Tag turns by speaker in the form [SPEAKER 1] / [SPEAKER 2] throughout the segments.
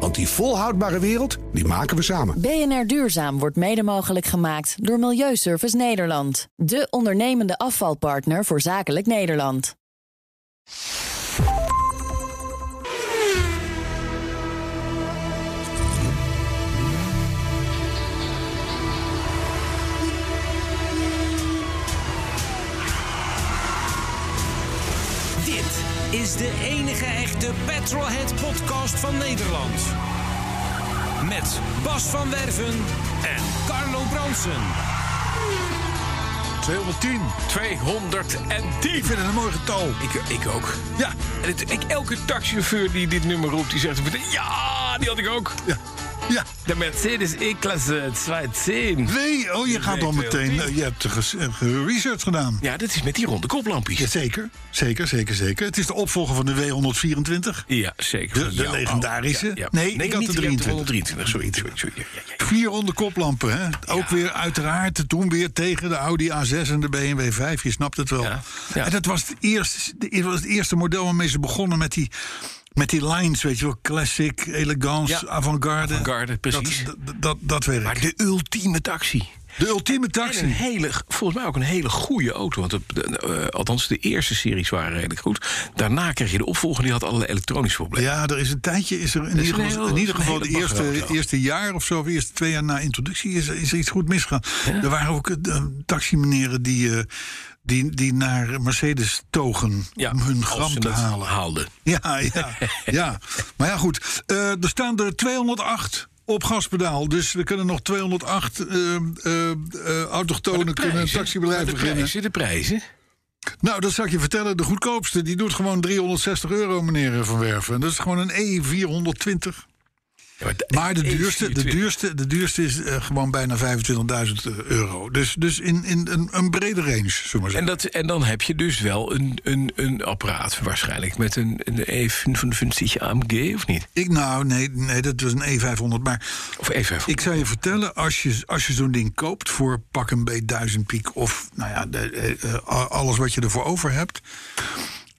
[SPEAKER 1] Want die volhoudbare wereld, die maken we samen.
[SPEAKER 2] BNR Duurzaam wordt mede mogelijk gemaakt door Milieuservice Nederland. De ondernemende afvalpartner voor zakelijk Nederland.
[SPEAKER 3] Dit is de enige echte Petrolhead podcast van Nederland. Met Bas van Werven en Carlo Bronsen.
[SPEAKER 4] 210. 210.
[SPEAKER 5] vind het een mooi getal.
[SPEAKER 4] Ik, ik ook. Ja, en het, ik, elke taxichauffeur die dit nummer roept, die zegt meteen... Ja, die had ik ook.
[SPEAKER 5] Ja. Ja,
[SPEAKER 4] De Mercedes E-klasse 210.
[SPEAKER 5] nee, oh, je gaat al meteen. eh, Je hebt ges- eh, research gedaan.
[SPEAKER 4] Ja, dat is met die ronde koplampjes.
[SPEAKER 5] Jazeker, zeker, zeker, zeker. Het is de opvolger van de W124.
[SPEAKER 4] Ja, zeker.
[SPEAKER 5] De-
[SPEAKER 4] Van
[SPEAKER 5] de
[SPEAKER 4] jou.
[SPEAKER 5] legendarische?
[SPEAKER 4] Oh, ja, ja.
[SPEAKER 5] Nee, ik had
[SPEAKER 4] niet,
[SPEAKER 5] de
[SPEAKER 4] je hebt
[SPEAKER 5] 23.
[SPEAKER 4] 123, zoiets. zoiets, zoiets. Ja, ja, ja.
[SPEAKER 5] Vier onder koplampen, hè? Ook weer uiteraard toen weer tegen de Audi A6 en de BMW 5. Je snapt het wel.
[SPEAKER 4] Ja, ja.
[SPEAKER 5] En dat was het, eerste, het was het eerste model waarmee ze begonnen met die, met die lines, weet je wel. Classic, elegance,
[SPEAKER 4] Ja.
[SPEAKER 5] avant-garde.
[SPEAKER 4] Avant-garde, precies.
[SPEAKER 5] Dat, dat, dat, dat werk.
[SPEAKER 4] Maar de ultieme taxi.
[SPEAKER 5] de ultieme
[SPEAKER 4] En een
[SPEAKER 5] taxi.
[SPEAKER 4] hele, volgens mij ook een hele goede auto. Want het- de- eh, althans, de eerste series waren redelijk goed. Daarna kreeg je de opvolger, die had allerlei elektronische problemen.
[SPEAKER 5] Ja, er is een tijdje, is er in
[SPEAKER 4] is
[SPEAKER 5] ieder
[SPEAKER 4] een
[SPEAKER 5] geval,
[SPEAKER 4] heel-
[SPEAKER 5] in ieder
[SPEAKER 4] dat is een
[SPEAKER 5] geval de
[SPEAKER 4] hele
[SPEAKER 5] eerste,
[SPEAKER 4] baggerauto.
[SPEAKER 5] eerste jaar of zo, of eerste twee jaar na introductie, is, is er iets goed misgegaan. Er waren ook eh, taximeneren die, eh, die, die naar Mercedes togen om hun
[SPEAKER 4] als
[SPEAKER 5] gram
[SPEAKER 4] ze
[SPEAKER 5] te
[SPEAKER 4] dat
[SPEAKER 5] halen.
[SPEAKER 4] haalden.
[SPEAKER 5] Ja, ja, ja. Maar ja, goed. Eh, er staan er 208 op gaspedaal. Dus er kunnen nog 208 eh, eh, eh, autochtonen kunnen een taxibedrijf
[SPEAKER 4] de
[SPEAKER 5] beginnen.
[SPEAKER 4] prijzen, de prijzen.
[SPEAKER 5] Nou, dat zal ik je vertellen. De goedkoopste die doet gewoon 360 euro, meneer Van Werven. En dat is gewoon een E E420.
[SPEAKER 4] Ja, maar,
[SPEAKER 5] Maar de
[SPEAKER 4] Eén
[SPEAKER 5] duurste, de
[SPEAKER 4] 24.
[SPEAKER 5] duurste, de duurste is eh, gewoon bijna 25.000 euro. Dus, dus in, in een, een brede range, zullen we maar
[SPEAKER 4] En,
[SPEAKER 5] zeggen.
[SPEAKER 4] dat, en dan heb je dus wel een, een, een apparaat waarschijnlijk. Met een, een E25 AMG of niet?
[SPEAKER 5] Ik, nou, nee, nee, dat was een E500. Maar
[SPEAKER 4] Of E500.
[SPEAKER 5] ik zou je vertellen, als je, als je zo'n ding koopt voor pak een beet 1000 piek... of nou ja, de- eh, eh, a- alles wat je ervoor over hebt...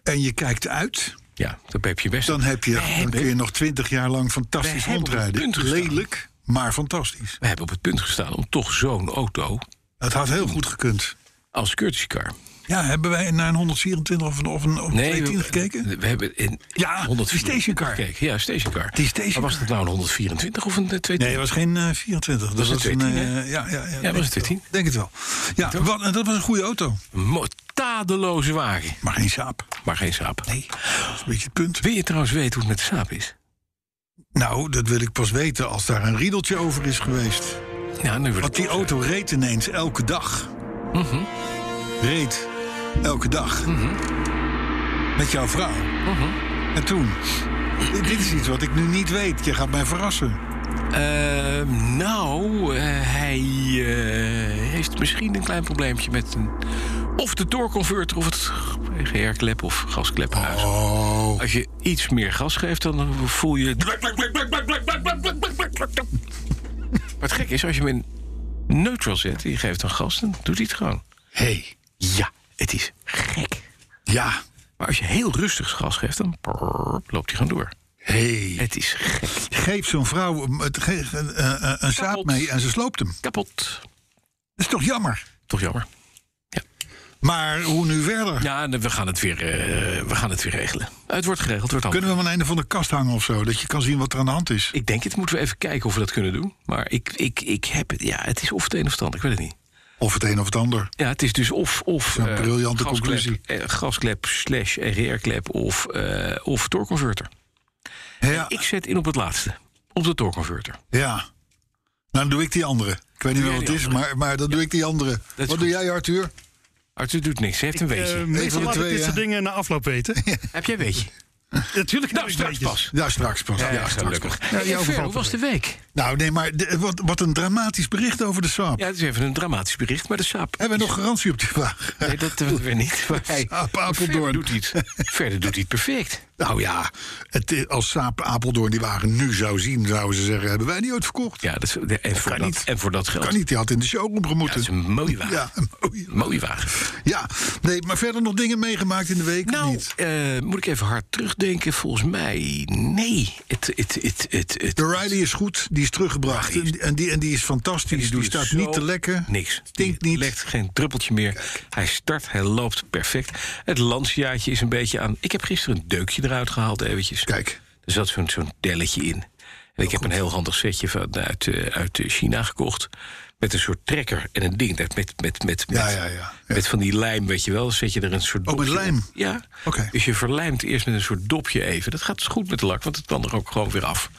[SPEAKER 5] en je kijkt uit,
[SPEAKER 4] ja, dat heb je best.
[SPEAKER 5] dan, heb je, dan
[SPEAKER 4] hebben-
[SPEAKER 5] kun je nog 20 jaar lang fantastisch
[SPEAKER 4] We hebben op het
[SPEAKER 5] rondrijden.
[SPEAKER 4] punt gestaan.
[SPEAKER 5] Lelijk, maar fantastisch.
[SPEAKER 4] We hebben op het punt gestaan om toch zo'n auto
[SPEAKER 5] Het had heel goed gekund.
[SPEAKER 4] als courtesy car.
[SPEAKER 5] Ja, hebben wij naar een 124 of een, of een, of een 210 gekeken?
[SPEAKER 4] We, we hebben in
[SPEAKER 5] Ja,
[SPEAKER 4] 124
[SPEAKER 5] die stationcar.
[SPEAKER 4] gekeken. Ja, stationcar.
[SPEAKER 5] Die stationcar.
[SPEAKER 4] Maar was dat nou een 124 of een eh, 210?
[SPEAKER 5] Nee, het was geen eh, 24. Dat
[SPEAKER 4] Was het
[SPEAKER 5] was een
[SPEAKER 4] 13,
[SPEAKER 5] eh,
[SPEAKER 4] hè?
[SPEAKER 5] ja, ja, ja,
[SPEAKER 4] was
[SPEAKER 5] denk
[SPEAKER 4] het 13.
[SPEAKER 5] wel. Denk het wel. Ja, wat, en dat was een goede auto.
[SPEAKER 4] Een mo- tadeloze wagen,
[SPEAKER 5] Maar geen saap.
[SPEAKER 4] maar geen saap.
[SPEAKER 5] Nee. Dat is een beetje het punt.
[SPEAKER 4] Wil je trouwens weten hoe het met de saap is?
[SPEAKER 5] Nou, dat wil ik pas weten als daar een riedeltje over is geweest.
[SPEAKER 4] Ja, nu wordt
[SPEAKER 5] Want die auto reed ineens elke dag. Mhm. Reed elke dag. Met jouw vrouw. En toen. Dit dit is iets wat ik nu niet weet. Je gaat mij verrassen.
[SPEAKER 4] Eh, nou, eh, hij eh, heeft misschien een klein probleempje met een... Of de torconverter of het GR-klep of gasklep.
[SPEAKER 5] Oh.
[SPEAKER 4] Als je iets meer gas geeft, dan voel je... Wat gek is, als je hem in neutral zet, en je geeft dan gas, dan doet hij het gewoon.
[SPEAKER 5] Hey.
[SPEAKER 4] Ja, het is gek.
[SPEAKER 5] Ja.
[SPEAKER 4] Maar als je heel rustig gas geeft, dan prrr, loopt hij gewoon door.
[SPEAKER 5] Hey.
[SPEAKER 4] Het is gek.
[SPEAKER 5] Geef zo'n vrouw een- het- ge- eh, eh, een saap
[SPEAKER 4] Kapot.
[SPEAKER 5] mee en ze sloopt hem.
[SPEAKER 4] Kapot.
[SPEAKER 5] Dat is toch jammer?
[SPEAKER 4] Toch jammer.
[SPEAKER 5] Maar hoe nu verder?
[SPEAKER 4] Ja, we gaan het weer, eh, we gaan het weer regelen. Het wordt geregeld, het wordt handig.
[SPEAKER 5] Kunnen we hem aan het einde van de kast hangen of zo? Dat je kan zien wat er aan de hand is.
[SPEAKER 4] Ik denk het, moeten we even kijken of we dat kunnen doen. Maar ik, ik, ik heb het, ja, het is of het een of het ander, ik weet het niet.
[SPEAKER 5] Of het een of het ander.
[SPEAKER 4] Ja, het is dus of... of
[SPEAKER 5] Zo'n
[SPEAKER 4] eh,
[SPEAKER 5] briljante
[SPEAKER 4] gasklep,
[SPEAKER 5] conclusie.
[SPEAKER 4] eh, gasklep slash RR-klep of, eh of torconverter.
[SPEAKER 5] Ja,
[SPEAKER 4] Ik zet in op het laatste. Op de torconverter.
[SPEAKER 5] ja. Nou, dan doe ik die andere. Ik weet niet meer
[SPEAKER 4] jij
[SPEAKER 5] wat het
[SPEAKER 4] die
[SPEAKER 5] is, maar, maar dan doe ik die andere. Wat
[SPEAKER 4] goed.
[SPEAKER 5] doe jij, Arthur?
[SPEAKER 4] Arthur doet niks, hij heeft een weetje.
[SPEAKER 6] Eh, meestal
[SPEAKER 5] de
[SPEAKER 6] laat ik
[SPEAKER 5] twee,
[SPEAKER 6] dit
[SPEAKER 5] hè?
[SPEAKER 6] soort dingen na afloop weten.
[SPEAKER 4] heb jij een weetje?
[SPEAKER 5] Natuurlijk
[SPEAKER 4] Nou,
[SPEAKER 5] heb ik
[SPEAKER 4] straks
[SPEAKER 5] weetjes.
[SPEAKER 4] pas.
[SPEAKER 5] Nou, straks pas. Ja, straks
[SPEAKER 4] gelukkig.
[SPEAKER 5] pas. Ja,
[SPEAKER 4] Hey,
[SPEAKER 5] jou
[SPEAKER 4] Fer, hoe
[SPEAKER 5] valt
[SPEAKER 4] was
[SPEAKER 5] het
[SPEAKER 4] de week?
[SPEAKER 5] mee. Nou, nee, maar de- wat, wat een dramatisch bericht over de Saab.
[SPEAKER 4] Ja, het is even een dramatisch bericht, maar de saap.
[SPEAKER 5] Hebben we nog garantie op die vraag?
[SPEAKER 4] Nee, dat eh, weer niet. Maar hij-
[SPEAKER 5] Saap
[SPEAKER 4] Verder
[SPEAKER 5] Apeldoorn.
[SPEAKER 4] doet hij het, verder doet hij het perfect.
[SPEAKER 5] Nou ja, het, is- als Saab Apeldoorn die wagen nu zou zien, zouden ze zeggen: hebben wij die ooit verkocht?
[SPEAKER 4] Ja, dat is, en, voor
[SPEAKER 5] Kan
[SPEAKER 4] dat,
[SPEAKER 5] niet.
[SPEAKER 4] en voor dat geld.
[SPEAKER 5] Kan niet, die had in de showroom gemoeten.
[SPEAKER 4] dat is een mooie wagen.
[SPEAKER 5] Ja, een mooie.
[SPEAKER 4] Mooie wagen.
[SPEAKER 5] Ja, nee, maar verder nog dingen meegemaakt in de week? of
[SPEAKER 4] Nou,
[SPEAKER 5] niet?
[SPEAKER 4] eh, moet ik even hard terugdenken. Volgens mij, nee. Het, het, het, het, het,
[SPEAKER 5] De Riley is goed, die is teruggebracht.
[SPEAKER 4] Ja, die
[SPEAKER 5] en, en die, en die is fantastisch, die,
[SPEAKER 4] Die
[SPEAKER 5] staat
[SPEAKER 4] is zo
[SPEAKER 5] niet te lekken.
[SPEAKER 4] Niks.
[SPEAKER 5] Stinkt
[SPEAKER 4] Die
[SPEAKER 5] niet.
[SPEAKER 4] Lekt geen druppeltje meer. Hij start, hij loopt perfect. Het lansjaartje is een beetje aan. Ik heb gisteren een deukje eruit gehaald, eventjes.
[SPEAKER 5] Kijk,
[SPEAKER 4] Er zat zo'n zo'n delletje in. En ik heb een heel handig setje van, uit, eh, uit eh, China gekocht. Met een soort trekker en een ding. Dat met, met, met, met,
[SPEAKER 5] Ja, ja, ja, ja.
[SPEAKER 4] met van die lijm, weet je wel. Dan Zet je er een soort
[SPEAKER 5] Oh, met
[SPEAKER 4] dopje
[SPEAKER 5] lijm?
[SPEAKER 4] op. Ja.
[SPEAKER 5] Oké.
[SPEAKER 4] Dus je verlijmt eerst met een soort dopje even. Dat gaat dus goed met de lak, want het kan er ook gewoon weer af.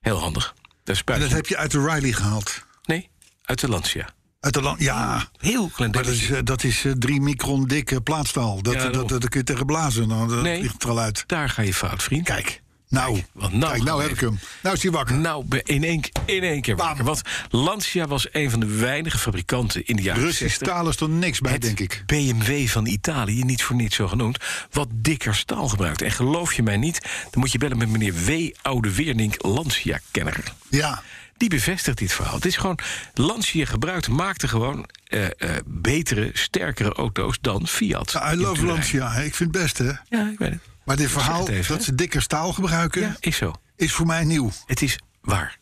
[SPEAKER 4] Heel handig. Daar
[SPEAKER 5] en
[SPEAKER 4] spuit
[SPEAKER 5] dat
[SPEAKER 4] je-
[SPEAKER 5] heb je uit de Riley gehaald.
[SPEAKER 4] Nee, uit de Lancia.
[SPEAKER 5] Uit de land, ja.
[SPEAKER 4] Heel klein
[SPEAKER 5] Maar dat
[SPEAKER 4] delletje.
[SPEAKER 5] is, eh, dat is eh, drie micron dikke plaatstaal. Dat,
[SPEAKER 4] Ja,
[SPEAKER 5] dat, dat,
[SPEAKER 4] daarom.
[SPEAKER 5] dat kun je tegen blazen. Nou, dat
[SPEAKER 4] Nee.
[SPEAKER 5] ligt er al uit.
[SPEAKER 4] Daar ga je fout, vriend.
[SPEAKER 5] Kijk, nou,
[SPEAKER 4] want nou
[SPEAKER 5] nou, kijk, nou
[SPEAKER 4] gaan
[SPEAKER 5] heb
[SPEAKER 4] we
[SPEAKER 5] ik hem. Nou is hij wakker.
[SPEAKER 4] Nou, be- in één, ke- in één keer wakker. Want Lancia was een van de weinige fabrikanten in de jaren
[SPEAKER 5] Russisch
[SPEAKER 4] 60.
[SPEAKER 5] taal is er niks bij,
[SPEAKER 4] Het
[SPEAKER 5] denk ik.
[SPEAKER 4] BMW van Italië, niet voor niets zo genoemd, wat dikker staal gebruikt. En geloof je mij niet, dan moet je bellen met meneer W. Oude Weernink, Lancia-kenner.
[SPEAKER 5] Ja,
[SPEAKER 4] Die bevestigt dit verhaal. Het is gewoon, Lancia gebruikte, maakte gewoon eh, eh, betere, sterkere auto's dan Fiat.
[SPEAKER 5] I
[SPEAKER 4] in
[SPEAKER 5] love
[SPEAKER 4] Turijn.
[SPEAKER 5] Lancia. Ik vind het best, hè.
[SPEAKER 4] Ja, ik weet het.
[SPEAKER 5] Maar dit
[SPEAKER 4] zeg
[SPEAKER 5] verhaal
[SPEAKER 4] het even,
[SPEAKER 5] dat
[SPEAKER 4] hè?
[SPEAKER 5] ze dikker staal gebruiken,
[SPEAKER 4] Ja, is zo.
[SPEAKER 5] is voor mij nieuw. Oké.
[SPEAKER 4] Het is waar.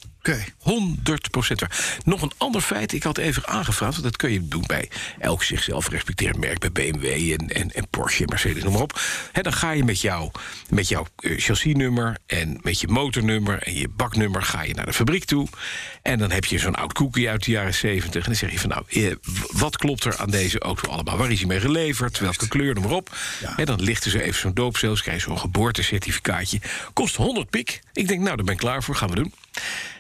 [SPEAKER 4] 100% waar. Nog een ander feit, ik had even aangevraagd... want dat kun je doen bij elk zichzelf respecterend merk... bij BMW en, en, en Porsche, Mercedes, noem maar op. Hè, dan ga je met, jou, met jouw eh, chassisnummer en met je motornummer... en je baknummer ga je naar de fabriek toe. En dan heb je zo'n oud koekie uit de jaren 70. En dan zeg je van, nou, eh, w- wat klopt er aan deze auto allemaal? Waar is hij mee geleverd? Welke kleur, noem maar op. Hè, dan lichten ze even zo'n doopzeels, krijg je zo'n geboortecertificaatje. Kost 100 pik. Ik denk, nou, daar ben ik klaar voor, gaan we doen.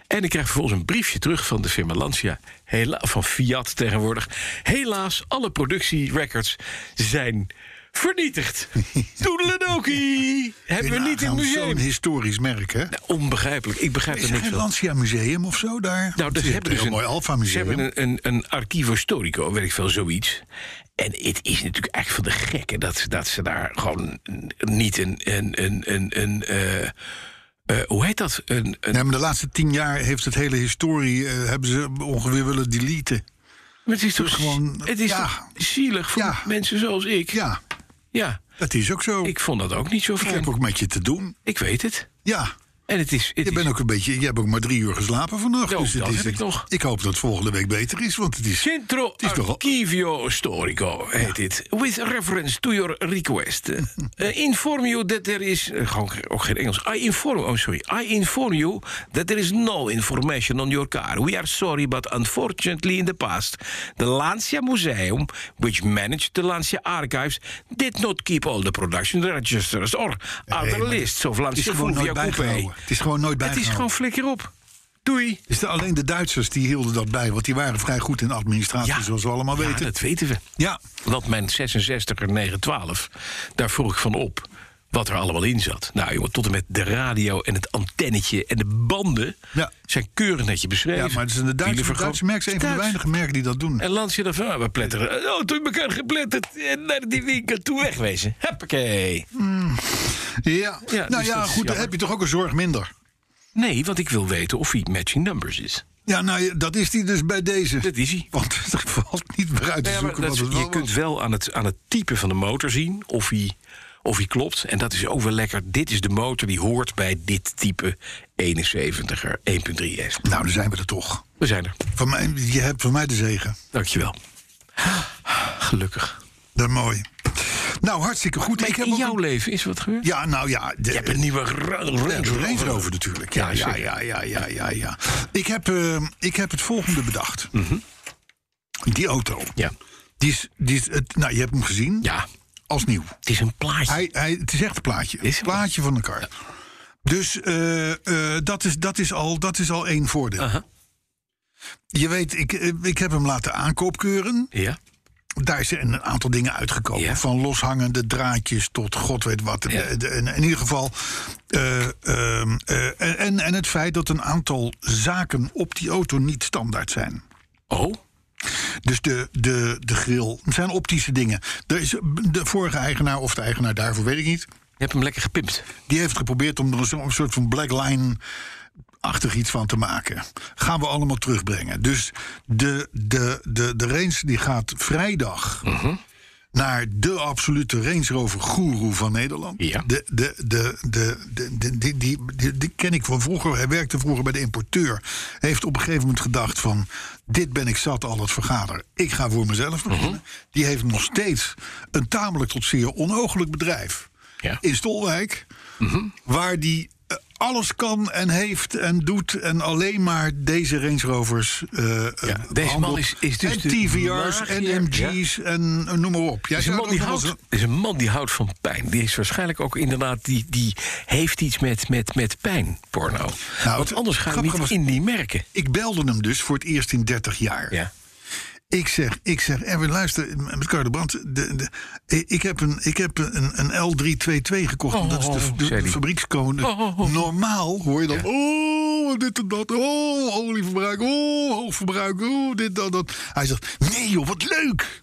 [SPEAKER 4] En ik krijg vervolgens een briefje terug van de firma Lancia, hela- van Fiat tegenwoordig. Helaas, alle productierecords zijn vernietigd. Toedeledokie! Hebben we niet in het
[SPEAKER 5] Nou, Zo'n
[SPEAKER 4] museum. Nou,
[SPEAKER 5] historisch merk, hè?
[SPEAKER 4] Onbegrijpelijk, ik begrijp
[SPEAKER 5] Is
[SPEAKER 4] er
[SPEAKER 5] er
[SPEAKER 4] niks
[SPEAKER 5] geen
[SPEAKER 4] van.
[SPEAKER 5] Lancia Museum of zo daar?
[SPEAKER 4] Nou, dus
[SPEAKER 5] Ze hebben
[SPEAKER 4] hebben dus
[SPEAKER 5] een heel mooi Alfa Museum.
[SPEAKER 4] Ze hebben een, een, een archivo storico, weet ik veel, zoiets. En het is natuurlijk echt van de gekken dat, ze- dat ze daar gewoon niet een. een, een, een, een eh, eh, hoe heet dat? Een, een,
[SPEAKER 5] Nee, maar de laatste tien jaar heeft het hele historie... eh, hebben ze ongeveer willen deleten.
[SPEAKER 4] Maar het is toch
[SPEAKER 5] gewoon,
[SPEAKER 4] Het is
[SPEAKER 5] ja.
[SPEAKER 4] toch zielig voor
[SPEAKER 5] Ja.
[SPEAKER 4] mensen zoals ik.
[SPEAKER 5] Ja,
[SPEAKER 4] Ja,
[SPEAKER 5] dat is ook zo.
[SPEAKER 4] ik vond dat ook niet zo
[SPEAKER 5] Ik
[SPEAKER 4] fijn.
[SPEAKER 5] heb
[SPEAKER 4] Ik,
[SPEAKER 5] ook met je te doen.
[SPEAKER 4] weet het.
[SPEAKER 5] Ja,
[SPEAKER 4] En het is. Het
[SPEAKER 5] je
[SPEAKER 4] is
[SPEAKER 5] bent ook een beetje... Je hebt ook maar drie uur geslapen vannacht. dus
[SPEAKER 4] Nou,
[SPEAKER 5] het
[SPEAKER 4] dat
[SPEAKER 5] is,
[SPEAKER 4] heb ik nog.
[SPEAKER 5] Ik hoop dat volgende week beter is, want het is...
[SPEAKER 4] Centro
[SPEAKER 5] is toch al-
[SPEAKER 4] Archivio Storico heet dit. With reference to your request. Eh, inform you that there is... eh, gewoon ook geen Engels. I inform... Oh, sorry. I inform you that there is no information on your car. We are sorry, but unfortunately in the past... The Lancia Museum, which managed the Lancia Archives... did not keep all the production registers or other
[SPEAKER 5] maar
[SPEAKER 4] lists of
[SPEAKER 5] het is
[SPEAKER 4] Lancia
[SPEAKER 5] gewoon nooit
[SPEAKER 4] Fulvia Coupé.
[SPEAKER 5] bijgehouden. Het is gewoon nooit
[SPEAKER 4] Het is
[SPEAKER 5] bijgehouden.
[SPEAKER 4] gewoon flikker op. Doei.
[SPEAKER 5] Dus de- alleen de Duitsers die hielden dat bij, want die waren vrij goed in administratie, zoals we allemaal
[SPEAKER 4] Ja,
[SPEAKER 5] weten.
[SPEAKER 4] dat weten we.
[SPEAKER 5] Ja,
[SPEAKER 4] Want mijn 66er 912, daar vroeg ik van op wat er allemaal in zat. Nou jongen, tot en met de radio en het antennetje en de banden
[SPEAKER 5] Ja.
[SPEAKER 4] zijn keurig netje
[SPEAKER 5] ja,
[SPEAKER 4] beschreven.
[SPEAKER 5] maar het is een Duitse,
[SPEAKER 4] Wielenvergroot-
[SPEAKER 5] Duitse merk, is een van de
[SPEAKER 4] Duits.
[SPEAKER 5] weinige merken die dat doen.
[SPEAKER 4] En Lancia dan van, ah, we pletteren. Oh, toen elkaar gepletterd. En naar die winkel toe wegwezen. Huppakee.
[SPEAKER 5] Ja,
[SPEAKER 4] Ja,
[SPEAKER 5] nou
[SPEAKER 4] dus
[SPEAKER 5] ja,
[SPEAKER 4] dat is
[SPEAKER 5] goed, dan
[SPEAKER 4] jammer.
[SPEAKER 5] heb je toch ook een zorg minder.
[SPEAKER 4] Nee, want ik wil weten of hij matching numbers is.
[SPEAKER 5] Ja, nou, ja, dat is die dus bij deze.
[SPEAKER 4] Dat is hij.
[SPEAKER 5] Want er valt niet meer uit te
[SPEAKER 4] Nou ja, maar
[SPEAKER 5] zoeken
[SPEAKER 4] dat
[SPEAKER 5] wat
[SPEAKER 4] is-
[SPEAKER 5] het wel
[SPEAKER 4] je kunt
[SPEAKER 5] was.
[SPEAKER 4] wel aan het, aan het type van de motor zien of hij, of hij klopt. En dat is ook wel lekker. Dit is de motor die hoort bij dit type 71er 1.3S.
[SPEAKER 5] Nou, dan zijn we er toch.
[SPEAKER 4] We zijn er.
[SPEAKER 5] Van mij, je hebt van mij de zegen.
[SPEAKER 4] Dankjewel. Gelukkig.
[SPEAKER 5] Dat is mooi. Nou, hartstikke goed.
[SPEAKER 4] Maar
[SPEAKER 5] ik heb
[SPEAKER 4] in
[SPEAKER 5] ook
[SPEAKER 4] jouw
[SPEAKER 5] een-
[SPEAKER 4] leven is wat gebeurd?
[SPEAKER 5] Ja, nou ja. De,
[SPEAKER 4] Je hebt een nieuwe Ra-
[SPEAKER 5] Ja,
[SPEAKER 4] Range
[SPEAKER 5] de Range
[SPEAKER 4] Rover.
[SPEAKER 5] Rover natuurlijk. Ja,
[SPEAKER 4] Ja,
[SPEAKER 5] ja,
[SPEAKER 4] zeker.
[SPEAKER 5] ja, ja, ja, ja. ja. Ik, heb, eh, ik heb het volgende bedacht. Die auto.
[SPEAKER 4] Mhm. Ja.
[SPEAKER 5] Die is, die is, het, nou, je hebt hem gezien.
[SPEAKER 4] ja,
[SPEAKER 5] Als nieuw.
[SPEAKER 4] het is een plaatje.
[SPEAKER 5] Hij, hij, het is echt een plaatje.
[SPEAKER 4] Is
[SPEAKER 5] Een
[SPEAKER 4] het?
[SPEAKER 5] plaatje van een kar. Dus eh, eh, dat, is, dat, is al, dat is al één voordeel.
[SPEAKER 4] Aha.
[SPEAKER 5] Je weet, ik, eh, ik heb hem laten aankoopkeuren.
[SPEAKER 4] Ja,
[SPEAKER 5] daar zijn een aantal dingen uitgekomen.
[SPEAKER 4] Ja.
[SPEAKER 5] Van loshangende draadjes tot god weet wat. De- de- in, in ieder geval. eh, ehm, eh, en- en, en het feit dat een aantal zaken op die auto niet standaard zijn.
[SPEAKER 4] Oh,
[SPEAKER 5] Dus de, de, de grill. Het zijn optische dingen. Er is de vorige eigenaar of de eigenaar daarvoor, weet ik niet.
[SPEAKER 4] je hebt hem lekker gepimpt.
[SPEAKER 5] Die heeft geprobeerd om er een zo- een soort van black line achtig iets van te maken. Gaan we allemaal terugbrengen. Dus de, de, de, de Range die gaat vrijdag naar de absolute Range Rover guru van Nederland.
[SPEAKER 4] Ja.
[SPEAKER 5] De, de, de, de, de, de- die, die, die, die ken ik van vroeger. Hij werkte vroeger bij de importeur. Heeft op een gegeven moment gedacht van... dit ben ik zat al het vergaderen. Ik ga voor mezelf
[SPEAKER 4] Mhm.
[SPEAKER 5] beginnen. Die heeft nog steeds een tamelijk tot zeer onogelijk bedrijf.
[SPEAKER 4] Ja. Mhm.
[SPEAKER 5] In Stolwijk waar die eh, alles kan en heeft en doet en alleen maar deze Range Rovers eh, eh,
[SPEAKER 4] deze man
[SPEAKER 5] behandelt.
[SPEAKER 4] is- is dus
[SPEAKER 5] en
[SPEAKER 4] de
[SPEAKER 5] TVR's
[SPEAKER 4] magier,
[SPEAKER 5] en MG's en eh, noem maar op. Jij
[SPEAKER 4] is, een
[SPEAKER 5] zou
[SPEAKER 4] man die
[SPEAKER 5] ook nog
[SPEAKER 4] houdt,
[SPEAKER 5] wel
[SPEAKER 4] is een man die houdt van pijn. Die is waarschijnlijk ook inderdaad... die, die heeft iets met, met, met pijn, porno. Want
[SPEAKER 5] het
[SPEAKER 4] anders ga je
[SPEAKER 5] grappige
[SPEAKER 4] niet
[SPEAKER 5] Nou, was-
[SPEAKER 4] in die merken.
[SPEAKER 5] eens- Ik belde hem dus voor het eerst in 30 jaar.
[SPEAKER 4] Ja.
[SPEAKER 5] Ik zeg, ik zeg, Erwin, luister, m- met Carlo Brandt, de, de, eh, ik heb een, ik heb een, een L322 gekocht.
[SPEAKER 4] Oh,
[SPEAKER 5] dat is de, de,
[SPEAKER 4] zei
[SPEAKER 5] de
[SPEAKER 4] die.
[SPEAKER 5] fabriekscode.
[SPEAKER 4] Oh, oh, oh.
[SPEAKER 5] Normaal hoor je dan, oh, dit en dat, oh, olieverbruik, oh, hoogverbruik, oh, dit, dat, dat. Hij zegt, nee joh, wat leuk!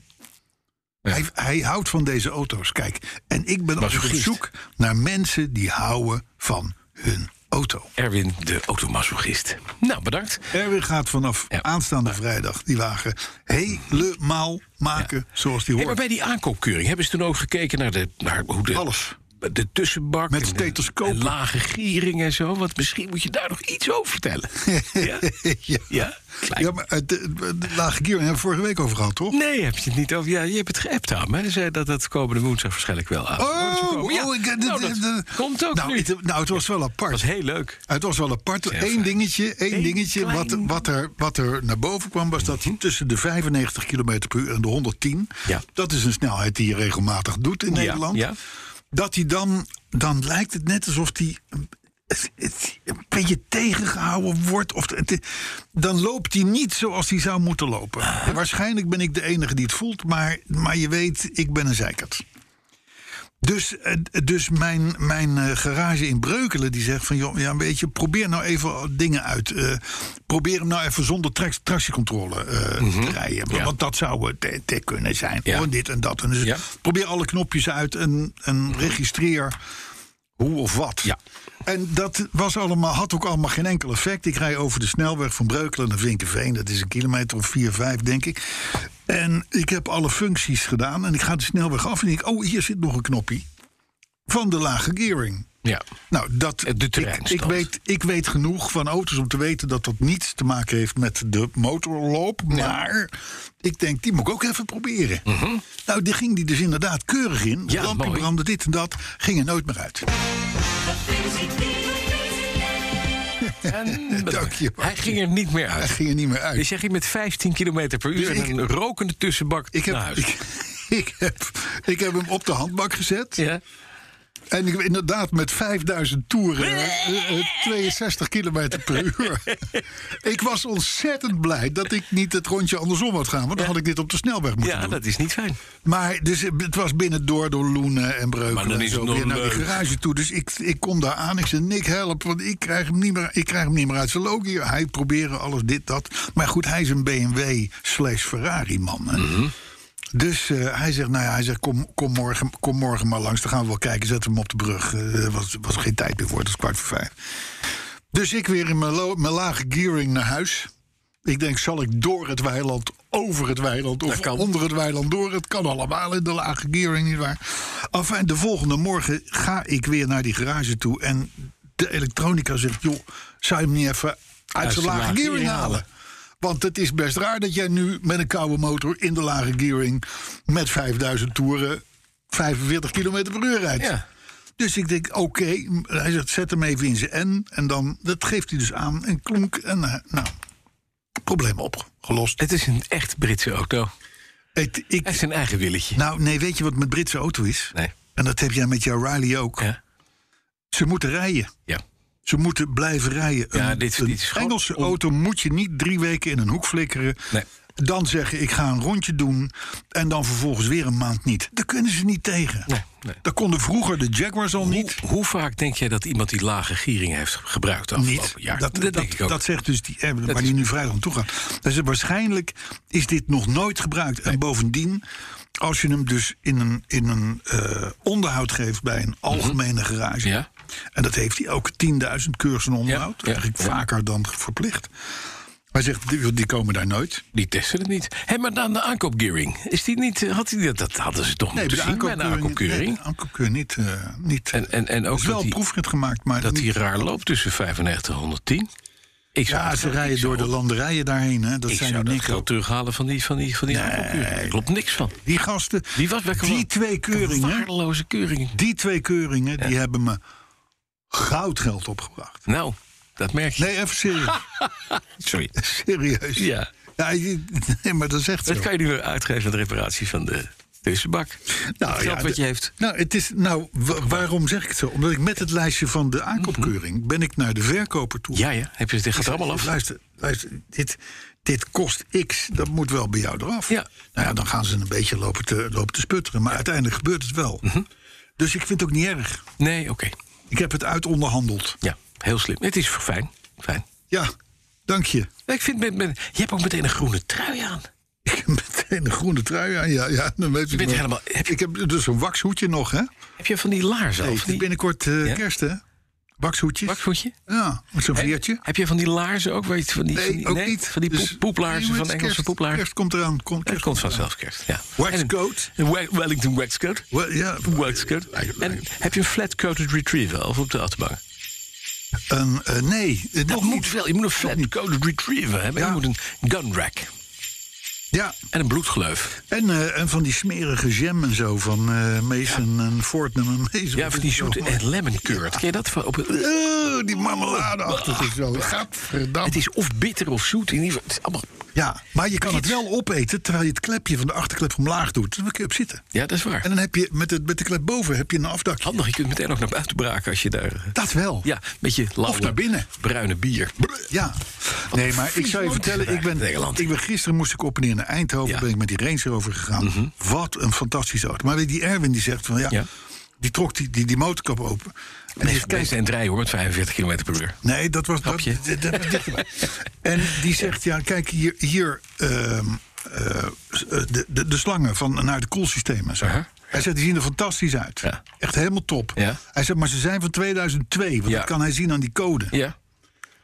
[SPEAKER 5] Hij, hij houdt van deze auto's, kijk. En ik ben altijd op
[SPEAKER 4] Masochist.
[SPEAKER 5] zoek naar mensen die houden van hun auto.
[SPEAKER 4] Erwin, de automasochist. Nou, bedankt.
[SPEAKER 5] Erwin gaat vanaf
[SPEAKER 4] Ja.
[SPEAKER 5] aanstaande vrijdag die wagen helemaal maken zoals die
[SPEAKER 4] Hey, maar
[SPEAKER 5] hoort.
[SPEAKER 4] bij die aankoopkeuring hebben ze toen ook gekeken naar, de, naar hoe de,
[SPEAKER 5] Alles.
[SPEAKER 4] de tussenbak.
[SPEAKER 5] Met
[SPEAKER 4] en de-
[SPEAKER 5] stethoscopen.
[SPEAKER 4] en lage giering en zo. Want misschien moet je daar nog iets over vertellen. ja?
[SPEAKER 5] ja.
[SPEAKER 4] ja? Klein. Nou,
[SPEAKER 5] Ja, maar het, de, de lage kier hebben we vorige week over gehad, toch?
[SPEAKER 4] Nee, heb je het niet over. Ja, je hebt het geappt aan me. Ze zei dat dat komende woensdag waarschijnlijk wel aan. wordt gekomen. ja.
[SPEAKER 5] Oh, ik- de-
[SPEAKER 4] nou,
[SPEAKER 5] de-
[SPEAKER 4] dat
[SPEAKER 5] de-
[SPEAKER 4] komt ook
[SPEAKER 5] nou,
[SPEAKER 4] nu.
[SPEAKER 5] Het, nou, het was wel apart.
[SPEAKER 4] Dat is heel leuk.
[SPEAKER 5] Het was wel apart.
[SPEAKER 4] Heel
[SPEAKER 5] Eén
[SPEAKER 4] fijn.
[SPEAKER 5] dingetje, één
[SPEAKER 4] Eén
[SPEAKER 5] dingetje
[SPEAKER 4] klein-
[SPEAKER 5] wat, wat, er, wat er naar boven kwam, was dat hij tussen de 95 km per uur en de 110.
[SPEAKER 4] Mhm. Ja.
[SPEAKER 5] Dat is een snelheid die je regelmatig doet in
[SPEAKER 4] Ja,
[SPEAKER 5] Nederland.
[SPEAKER 4] ja.
[SPEAKER 5] Dat hij dan, dan lijkt het net alsof hij een beetje tegengehouden wordt. Of het- dan loopt hij niet zoals hij zou moeten lopen.
[SPEAKER 4] Ah.
[SPEAKER 5] Waarschijnlijk ben ik de enige die het voelt, maar, maar je weet, ik ben een zeikert. Dus, eh, dus mijn, mijn eh, garage in Breukelen die zegt van... joh, ja, weet je, probeer nou even dingen uit. Eh, probeer hem nou even zonder tract- tractiecontrole eh, te rijden.
[SPEAKER 4] Mhm. Ja.
[SPEAKER 5] Want dat zou het eh, te kunnen zijn.
[SPEAKER 4] Ja.
[SPEAKER 5] Oh, en dit en dat. En dus
[SPEAKER 4] Ja. Mhm.
[SPEAKER 5] Probeer alle knopjes uit en, en registreer hoe of wat.
[SPEAKER 4] Ja.
[SPEAKER 5] En dat was allemaal, had ook allemaal geen enkel effect. Ik rij over de snelweg van Breukelen naar Vinkenveen. Dat is een kilometer of 4, 5, denk ik. En ik heb alle functies gedaan. En ik ga de snelweg af en ik denk, oh, hier zit nog een knopje. Van de lage gearing.
[SPEAKER 4] Ja.
[SPEAKER 5] Nou, dat,
[SPEAKER 4] De
[SPEAKER 5] ik,
[SPEAKER 4] terreinstand.
[SPEAKER 5] ik, weet, ik weet genoeg van auto's om te weten dat dat niets te maken heeft met de motorloop. Maar ik denk, die moet ik ook even proberen. Nou, die ging die dus inderdaad keurig in.
[SPEAKER 4] Mhm. Ja,
[SPEAKER 5] Lampje
[SPEAKER 4] mooi.
[SPEAKER 5] brandde, dit en dat. Ging er nooit meer uit.
[SPEAKER 4] En bedankt.
[SPEAKER 5] Dank je wel.
[SPEAKER 4] Hij ging er niet meer
[SPEAKER 5] Hij
[SPEAKER 4] uit.
[SPEAKER 5] ging er niet meer uit.
[SPEAKER 4] Dus jij ging met 15 km per uur
[SPEAKER 5] Dus ik-
[SPEAKER 4] en een rokende tussenbak
[SPEAKER 5] ik, heb,
[SPEAKER 4] naar huis.
[SPEAKER 5] ik, ik, heb, ik heb hem op de handbak gezet.
[SPEAKER 4] ja.
[SPEAKER 5] En ik heb inderdaad met 5000 toeren eh, eh, 62 kilometer per uur. ik was ontzettend blij dat ik niet het rondje andersom had gaan. Want dan had ik dit op de snelweg moeten
[SPEAKER 4] ja,
[SPEAKER 5] doen.
[SPEAKER 4] dat is niet fijn.
[SPEAKER 5] Maar dus, het was binnen door, door Loenen en Breuken.
[SPEAKER 4] Maar dan is
[SPEAKER 5] en zo,
[SPEAKER 4] het nog
[SPEAKER 5] weer naar die
[SPEAKER 4] leuk.
[SPEAKER 5] garage toe. Dus ik, ik kom daar aan. Ik zei, Nick, help, want ik krijg hem niet meer, ik krijg hem niet meer uit zijn loop hier. Hij probeerde alles, dit, dat. Maar goed, hij is een BMW slash Ferrari man. hè.
[SPEAKER 4] Mhm.
[SPEAKER 5] Dus eh, hij zegt, nou ja, hij zegt kom, kom, morgen, kom morgen maar langs. Dan gaan we wel kijken. Zetten we hem op de brug. Eh, was, was geen tijd meer voor, het is kwart voor vijf. Dus ik weer in mijn, lo- mijn lage gearing naar huis. Ik denk, zal ik door het weiland, over het weiland of
[SPEAKER 4] Dat kan.
[SPEAKER 5] onder het weiland door? Het kan allemaal in de lage gearing, nietwaar? Enfin, de volgende morgen ga ik weer naar die garage toe. En de elektronica zegt, joh, zou je hem niet even uit zijn lage gearing halen? Want het is best raar dat jij nu met een koude motor in de lage gearing... met 5000 toeren 45 km per uur rijdt.
[SPEAKER 4] Ja.
[SPEAKER 5] Dus ik denk, oké, hij zegt, zet hem even in zijn N. En dan, dat geeft hij dus aan. En klonk, en eh, nou, probleem opgelost.
[SPEAKER 4] Het is een echt Britse auto.
[SPEAKER 5] Het, ik,
[SPEAKER 4] Hij heeft zijn eigen willetje.
[SPEAKER 5] nou, nee, weet je wat met Britse auto is?
[SPEAKER 4] Nee.
[SPEAKER 5] En dat heb jij met jouw Riley ook.
[SPEAKER 4] Ja.
[SPEAKER 5] Ze moeten rijden.
[SPEAKER 4] ja.
[SPEAKER 5] Ze moeten blijven rijden.
[SPEAKER 4] Ja,
[SPEAKER 5] Een-
[SPEAKER 4] dit-
[SPEAKER 5] een
[SPEAKER 4] dit is gewoon
[SPEAKER 5] Engelse
[SPEAKER 4] on-
[SPEAKER 5] auto moet je niet drie weken in een hoek flikkeren.
[SPEAKER 4] Nee.
[SPEAKER 5] Dan zeggen ik ga een rondje doen en dan vervolgens weer een maand niet. Daar kunnen ze niet tegen.
[SPEAKER 4] Nee, nee.
[SPEAKER 5] Dat konden vroeger de Jaguars al
[SPEAKER 4] Hoe,
[SPEAKER 5] niet.
[SPEAKER 4] hoe vaak denk jij dat iemand die lage giering heeft gebruikt de afgelopen
[SPEAKER 5] Niet.
[SPEAKER 4] jaar?
[SPEAKER 5] Oh, Dat, dat,
[SPEAKER 4] denk ik ook.
[SPEAKER 5] dat zegt dus die eh,
[SPEAKER 4] is-
[SPEAKER 5] waar die nu vrijdag aan toe gaat. Dus waarschijnlijk is dit nog nooit gebruikt. En bovendien, als je hem dus in een, in een eh, onderhoud geeft bij een algemene garage.
[SPEAKER 4] Mhm. Ja.
[SPEAKER 5] En dat heeft hij ook 10.000 keurs en onderhoud.
[SPEAKER 4] Ja, ja,
[SPEAKER 5] Eigenlijk
[SPEAKER 4] ja.
[SPEAKER 5] vaker dan verplicht. Hij zegt, die, die komen daar nooit.
[SPEAKER 4] Die testen het niet. Hé, maar dan de aankoopgearing. Is die niet, eh, had die, dat, dat hadden ze toch moeten zien bij de aankoopkeuring.
[SPEAKER 5] Nee, de aankoopkeur niet. eh, niet
[SPEAKER 4] En- en- en
[SPEAKER 5] er
[SPEAKER 4] ook
[SPEAKER 5] is wel
[SPEAKER 4] dat
[SPEAKER 5] een
[SPEAKER 4] die-
[SPEAKER 5] proefrit gemaakt, maar
[SPEAKER 4] dat
[SPEAKER 5] niet-
[SPEAKER 4] die raar loopt tussen 95 en 110. Ik zou
[SPEAKER 5] ja,
[SPEAKER 4] dat
[SPEAKER 5] ze
[SPEAKER 4] geld-
[SPEAKER 5] rijden
[SPEAKER 4] ik
[SPEAKER 5] door de
[SPEAKER 4] zou-
[SPEAKER 5] landerijen daarheen. Hè. Dat
[SPEAKER 4] Ik
[SPEAKER 5] zijn
[SPEAKER 4] zou
[SPEAKER 5] er
[SPEAKER 4] dat
[SPEAKER 5] niks.
[SPEAKER 4] geld terughalen van die, van die, van die aankoopkeuring. Daar klopt niks van.
[SPEAKER 5] Die gasten,
[SPEAKER 4] Die was welke
[SPEAKER 5] die
[SPEAKER 4] was-
[SPEAKER 5] twee keuringen,
[SPEAKER 4] Waardeloze keuring.
[SPEAKER 5] die twee keuringen, die hebben me goudgeld opgebracht.
[SPEAKER 4] Nou, dat merk je.
[SPEAKER 5] Nee, even serieus.
[SPEAKER 4] Sorry.
[SPEAKER 5] serieus.
[SPEAKER 4] Ja.
[SPEAKER 5] Ja, je- nee, maar dat is echt
[SPEAKER 4] Dat
[SPEAKER 5] zo.
[SPEAKER 4] kan je nu weer uitgeven aan de reparatie van de tussenbak. Nou,
[SPEAKER 5] Nou,
[SPEAKER 4] het geld
[SPEAKER 5] ja,
[SPEAKER 4] wat
[SPEAKER 5] de-
[SPEAKER 4] je heeft.
[SPEAKER 5] Nou, het is, nou wa- waarom zeg ik het zo? Omdat ik met het lijstje van de aankoopkeuring ben ik naar de verkoper toe.
[SPEAKER 4] Mhm. Ja, ja. Heb je, dit gaat er allemaal af.
[SPEAKER 5] Luister, luister dit, dit kost x, dat moet wel bij jou eraf.
[SPEAKER 4] Ja.
[SPEAKER 5] Nou ja, dan gaan ze een beetje lopen te, lopen te sputteren. Maar uiteindelijk gebeurt het wel.
[SPEAKER 4] Mhm.
[SPEAKER 5] Dus ik vind het ook niet erg.
[SPEAKER 4] Nee, oké.
[SPEAKER 5] Ik heb het uitonderhandeld.
[SPEAKER 4] Ja, heel slim. Het is fijn. Fijn.
[SPEAKER 5] Ja, dank je.
[SPEAKER 4] Ik vind, met, met, je hebt ook meteen een groene trui aan.
[SPEAKER 5] Ik heb meteen een groene trui aan. Ja, ja dan weet je
[SPEAKER 4] bent helemaal- heb je-
[SPEAKER 5] Ik heb dus een waxhoedje nog, hè?
[SPEAKER 4] Heb je van die laars
[SPEAKER 5] Hey,
[SPEAKER 4] al? van
[SPEAKER 5] het is
[SPEAKER 4] die
[SPEAKER 5] binnenkort eh,
[SPEAKER 4] Ja.
[SPEAKER 5] kerst, hè? Waxhoedjes.
[SPEAKER 4] bakvoetje?
[SPEAKER 5] Ja, met zo'n veertje.
[SPEAKER 4] Heb je van die laarzen ook? Weet je, van die, van die,
[SPEAKER 5] Nee, ook niet.
[SPEAKER 4] Van die
[SPEAKER 5] Dus-
[SPEAKER 4] poep- poeplaarzen,
[SPEAKER 5] Nee, maar
[SPEAKER 4] van
[SPEAKER 5] het is
[SPEAKER 4] Engelse
[SPEAKER 5] kerst.
[SPEAKER 4] poeplaarzen.
[SPEAKER 5] Kerst komt eraan. Komt,
[SPEAKER 4] Dat
[SPEAKER 5] kerst
[SPEAKER 4] komt
[SPEAKER 5] eraan.
[SPEAKER 4] vanzelf kerst, ja.
[SPEAKER 5] Waxcoat.
[SPEAKER 4] En Een Wel- Wellington waxcoat.
[SPEAKER 5] Wel, ja,
[SPEAKER 4] Waxcoat. En heb je een flat-coated retriever of op de achterbank?
[SPEAKER 5] een, eh, nee, eh,
[SPEAKER 4] Dat
[SPEAKER 5] nog
[SPEAKER 4] moet
[SPEAKER 5] niet.
[SPEAKER 4] wel. Je moet een flat-coated retriever hebben.
[SPEAKER 5] Ja.
[SPEAKER 4] Je moet een gun rack.
[SPEAKER 5] Ja,
[SPEAKER 4] En een bloedgleuf.
[SPEAKER 5] en, eh, en van die smerige jam en zo van eh Mason en Fortnum en Mason.
[SPEAKER 4] Ja, van die zoete en lemon curd. Ken je dat? Van op een-
[SPEAKER 5] Eh, die marmeladeachtig is wel.
[SPEAKER 4] het
[SPEAKER 5] Gadverdamme.
[SPEAKER 4] is of bitter of zoet. In ieder geval, het is allemaal...
[SPEAKER 5] Ja, maar je kan
[SPEAKER 4] Maar
[SPEAKER 5] het
[SPEAKER 4] dit-
[SPEAKER 5] wel opeten terwijl je het klepje van de achterklep omlaag doet. Dan kun je op zitten.
[SPEAKER 4] Ja, dat is waar.
[SPEAKER 5] En dan heb je met, het, met de klep boven heb je een afdakje.
[SPEAKER 4] Handig, je kunt meteen ook naar buiten braken als je daar... eh,
[SPEAKER 5] Dat wel.
[SPEAKER 4] Ja, met je lauwe,
[SPEAKER 5] Of naar binnen.
[SPEAKER 4] bruine bier.
[SPEAKER 5] Ja. Nee, maar ik zou je
[SPEAKER 4] Friesland
[SPEAKER 5] vertellen,
[SPEAKER 4] is
[SPEAKER 5] ik ben,
[SPEAKER 4] Nederland.
[SPEAKER 5] ik ben gisteren moest ik op en neer naar Eindhoven,
[SPEAKER 4] Ja. Mhm.
[SPEAKER 5] ben ik met die Range Rover gegaan. Wat een fantastische auto. Maar weet je, die Erwin die zegt van ja,
[SPEAKER 4] Ja.
[SPEAKER 5] die trok die, die, die motorkap open. En die zegt,
[SPEAKER 4] Kijk,
[SPEAKER 5] kijk,
[SPEAKER 4] zijn draai hoor, met 45 km per uur.
[SPEAKER 5] nee, dat was dat,
[SPEAKER 4] Grapje.
[SPEAKER 5] dat- dat was dichterbij. En die zegt ja, kijk hier, hier ehm, eh, s- eh, de, de, de slangen van naar de koelsysteem en zo.
[SPEAKER 4] Aha.
[SPEAKER 5] Hij zegt, die zien er fantastisch uit.
[SPEAKER 4] Ja.
[SPEAKER 5] Echt helemaal top.
[SPEAKER 4] Ja.
[SPEAKER 5] Hij zegt, maar ze zijn van 2002. Want
[SPEAKER 4] Ja.
[SPEAKER 5] dat kan hij zien aan die code.
[SPEAKER 4] Ja.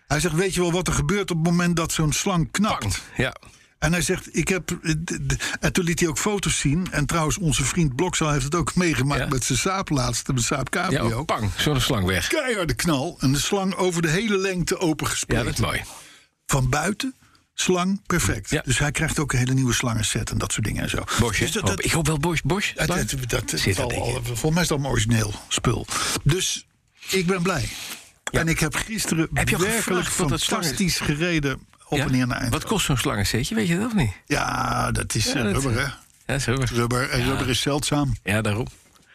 [SPEAKER 5] Hij zegt, weet je wel wat er gebeurt op het moment dat zo'n slang knapt?
[SPEAKER 4] Ja.
[SPEAKER 5] En hij zegt, ik heb... eh, d- d- En toen liet hij ook foto's zien. En trouwens, onze vriend Blokzaal heeft het ook meegemaakt...
[SPEAKER 4] Ja.
[SPEAKER 5] met zijn saap laatst, met Saap
[SPEAKER 4] Ja,
[SPEAKER 5] Cabrio.
[SPEAKER 4] oh, pang, zo'n slang weg.
[SPEAKER 5] Keiharde knal. En de slang over de hele lengte
[SPEAKER 4] Ja,
[SPEAKER 5] opengespreid.
[SPEAKER 4] dat is mooi.
[SPEAKER 5] Van buiten, slang, perfect.
[SPEAKER 4] Ja.
[SPEAKER 5] Dus hij krijgt ook een hele nieuwe slangenset en dat soort dingen en zo.
[SPEAKER 4] Bosch, hè?
[SPEAKER 5] Dus dat,
[SPEAKER 4] Hoop-
[SPEAKER 5] dat,
[SPEAKER 4] ik hoop wel Bosch. Bosch?
[SPEAKER 5] dat,
[SPEAKER 4] slang?
[SPEAKER 5] dat, dat- dat
[SPEAKER 4] Zit
[SPEAKER 5] zal
[SPEAKER 4] dat denk ik.
[SPEAKER 5] al- volgens mij is dat een origineel spul. Dus ik ben blij. En ik heb gisteren
[SPEAKER 4] Heb je al
[SPEAKER 5] werkelijk
[SPEAKER 4] gevraagd wat dat slang is?
[SPEAKER 5] fantastisch gereden... op
[SPEAKER 4] Ja?
[SPEAKER 5] en neer naar Eindhoven.
[SPEAKER 4] Wat kost zo'n slangensetje, weet je dat of niet?
[SPEAKER 5] Ja, dat is eh,
[SPEAKER 4] dat-
[SPEAKER 5] rubber, hè?
[SPEAKER 4] Ja, zo.
[SPEAKER 5] Rubber, en rubber is zeldzaam.
[SPEAKER 4] Ja, daarom.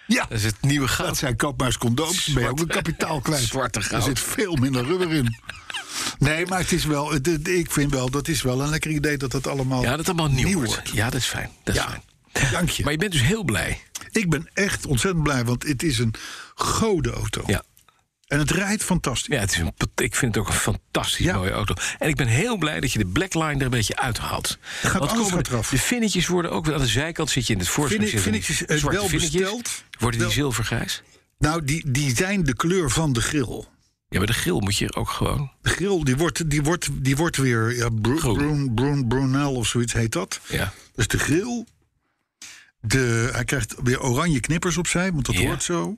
[SPEAKER 5] Ja,
[SPEAKER 4] Dat is het nieuwe goud.
[SPEAKER 5] dat zijn kapmuiscondooms. Ben je ook een kapitaal kwijt.
[SPEAKER 4] Zwarte goud.
[SPEAKER 5] Er zit veel minder rubber in. Nee, maar het is wel, het- het- ik vind wel, dat is wel een lekker idee dat dat allemaal
[SPEAKER 4] Ja, dat is allemaal nieuw, wordt. Ja, dat is fijn. Dat is
[SPEAKER 5] Ja,
[SPEAKER 4] fijn.
[SPEAKER 5] dank je.
[SPEAKER 4] Maar je bent dus heel blij.
[SPEAKER 5] Ik ben echt ontzettend blij, want het is een godenauto.
[SPEAKER 4] Ja.
[SPEAKER 5] En het rijdt fantastisch.
[SPEAKER 4] Ja, het is een, pat- ik vind het ook een fantastisch
[SPEAKER 5] Ja.
[SPEAKER 4] mooie auto. En ik ben heel blij dat je de blackline er een beetje uithaalt.
[SPEAKER 5] Gaat alles
[SPEAKER 4] komen
[SPEAKER 5] gaat
[SPEAKER 4] de-
[SPEAKER 5] eraf.
[SPEAKER 4] De finnetjes worden ook... Aan de zijkant zit je in het voorstel.
[SPEAKER 5] Finne-
[SPEAKER 4] zitten die
[SPEAKER 5] finnetjes, eh,
[SPEAKER 4] zwarte
[SPEAKER 5] wel
[SPEAKER 4] finnetjes.
[SPEAKER 5] besteld.
[SPEAKER 4] Worden die
[SPEAKER 5] Wel-
[SPEAKER 4] zilvergrijs?
[SPEAKER 5] Nou, die, die zijn de kleur van de grill.
[SPEAKER 4] Ja, maar de grill moet je ook gewoon...
[SPEAKER 5] De grill, die wordt, die wordt, die wordt weer ja, bro,
[SPEAKER 4] Groen.
[SPEAKER 5] broen, broen, brunel of zoiets heet dat.
[SPEAKER 4] Ja.
[SPEAKER 5] Dus de grill. De, hij krijgt weer oranje knippers opzij, want dat
[SPEAKER 4] Ja.
[SPEAKER 5] hoort zo.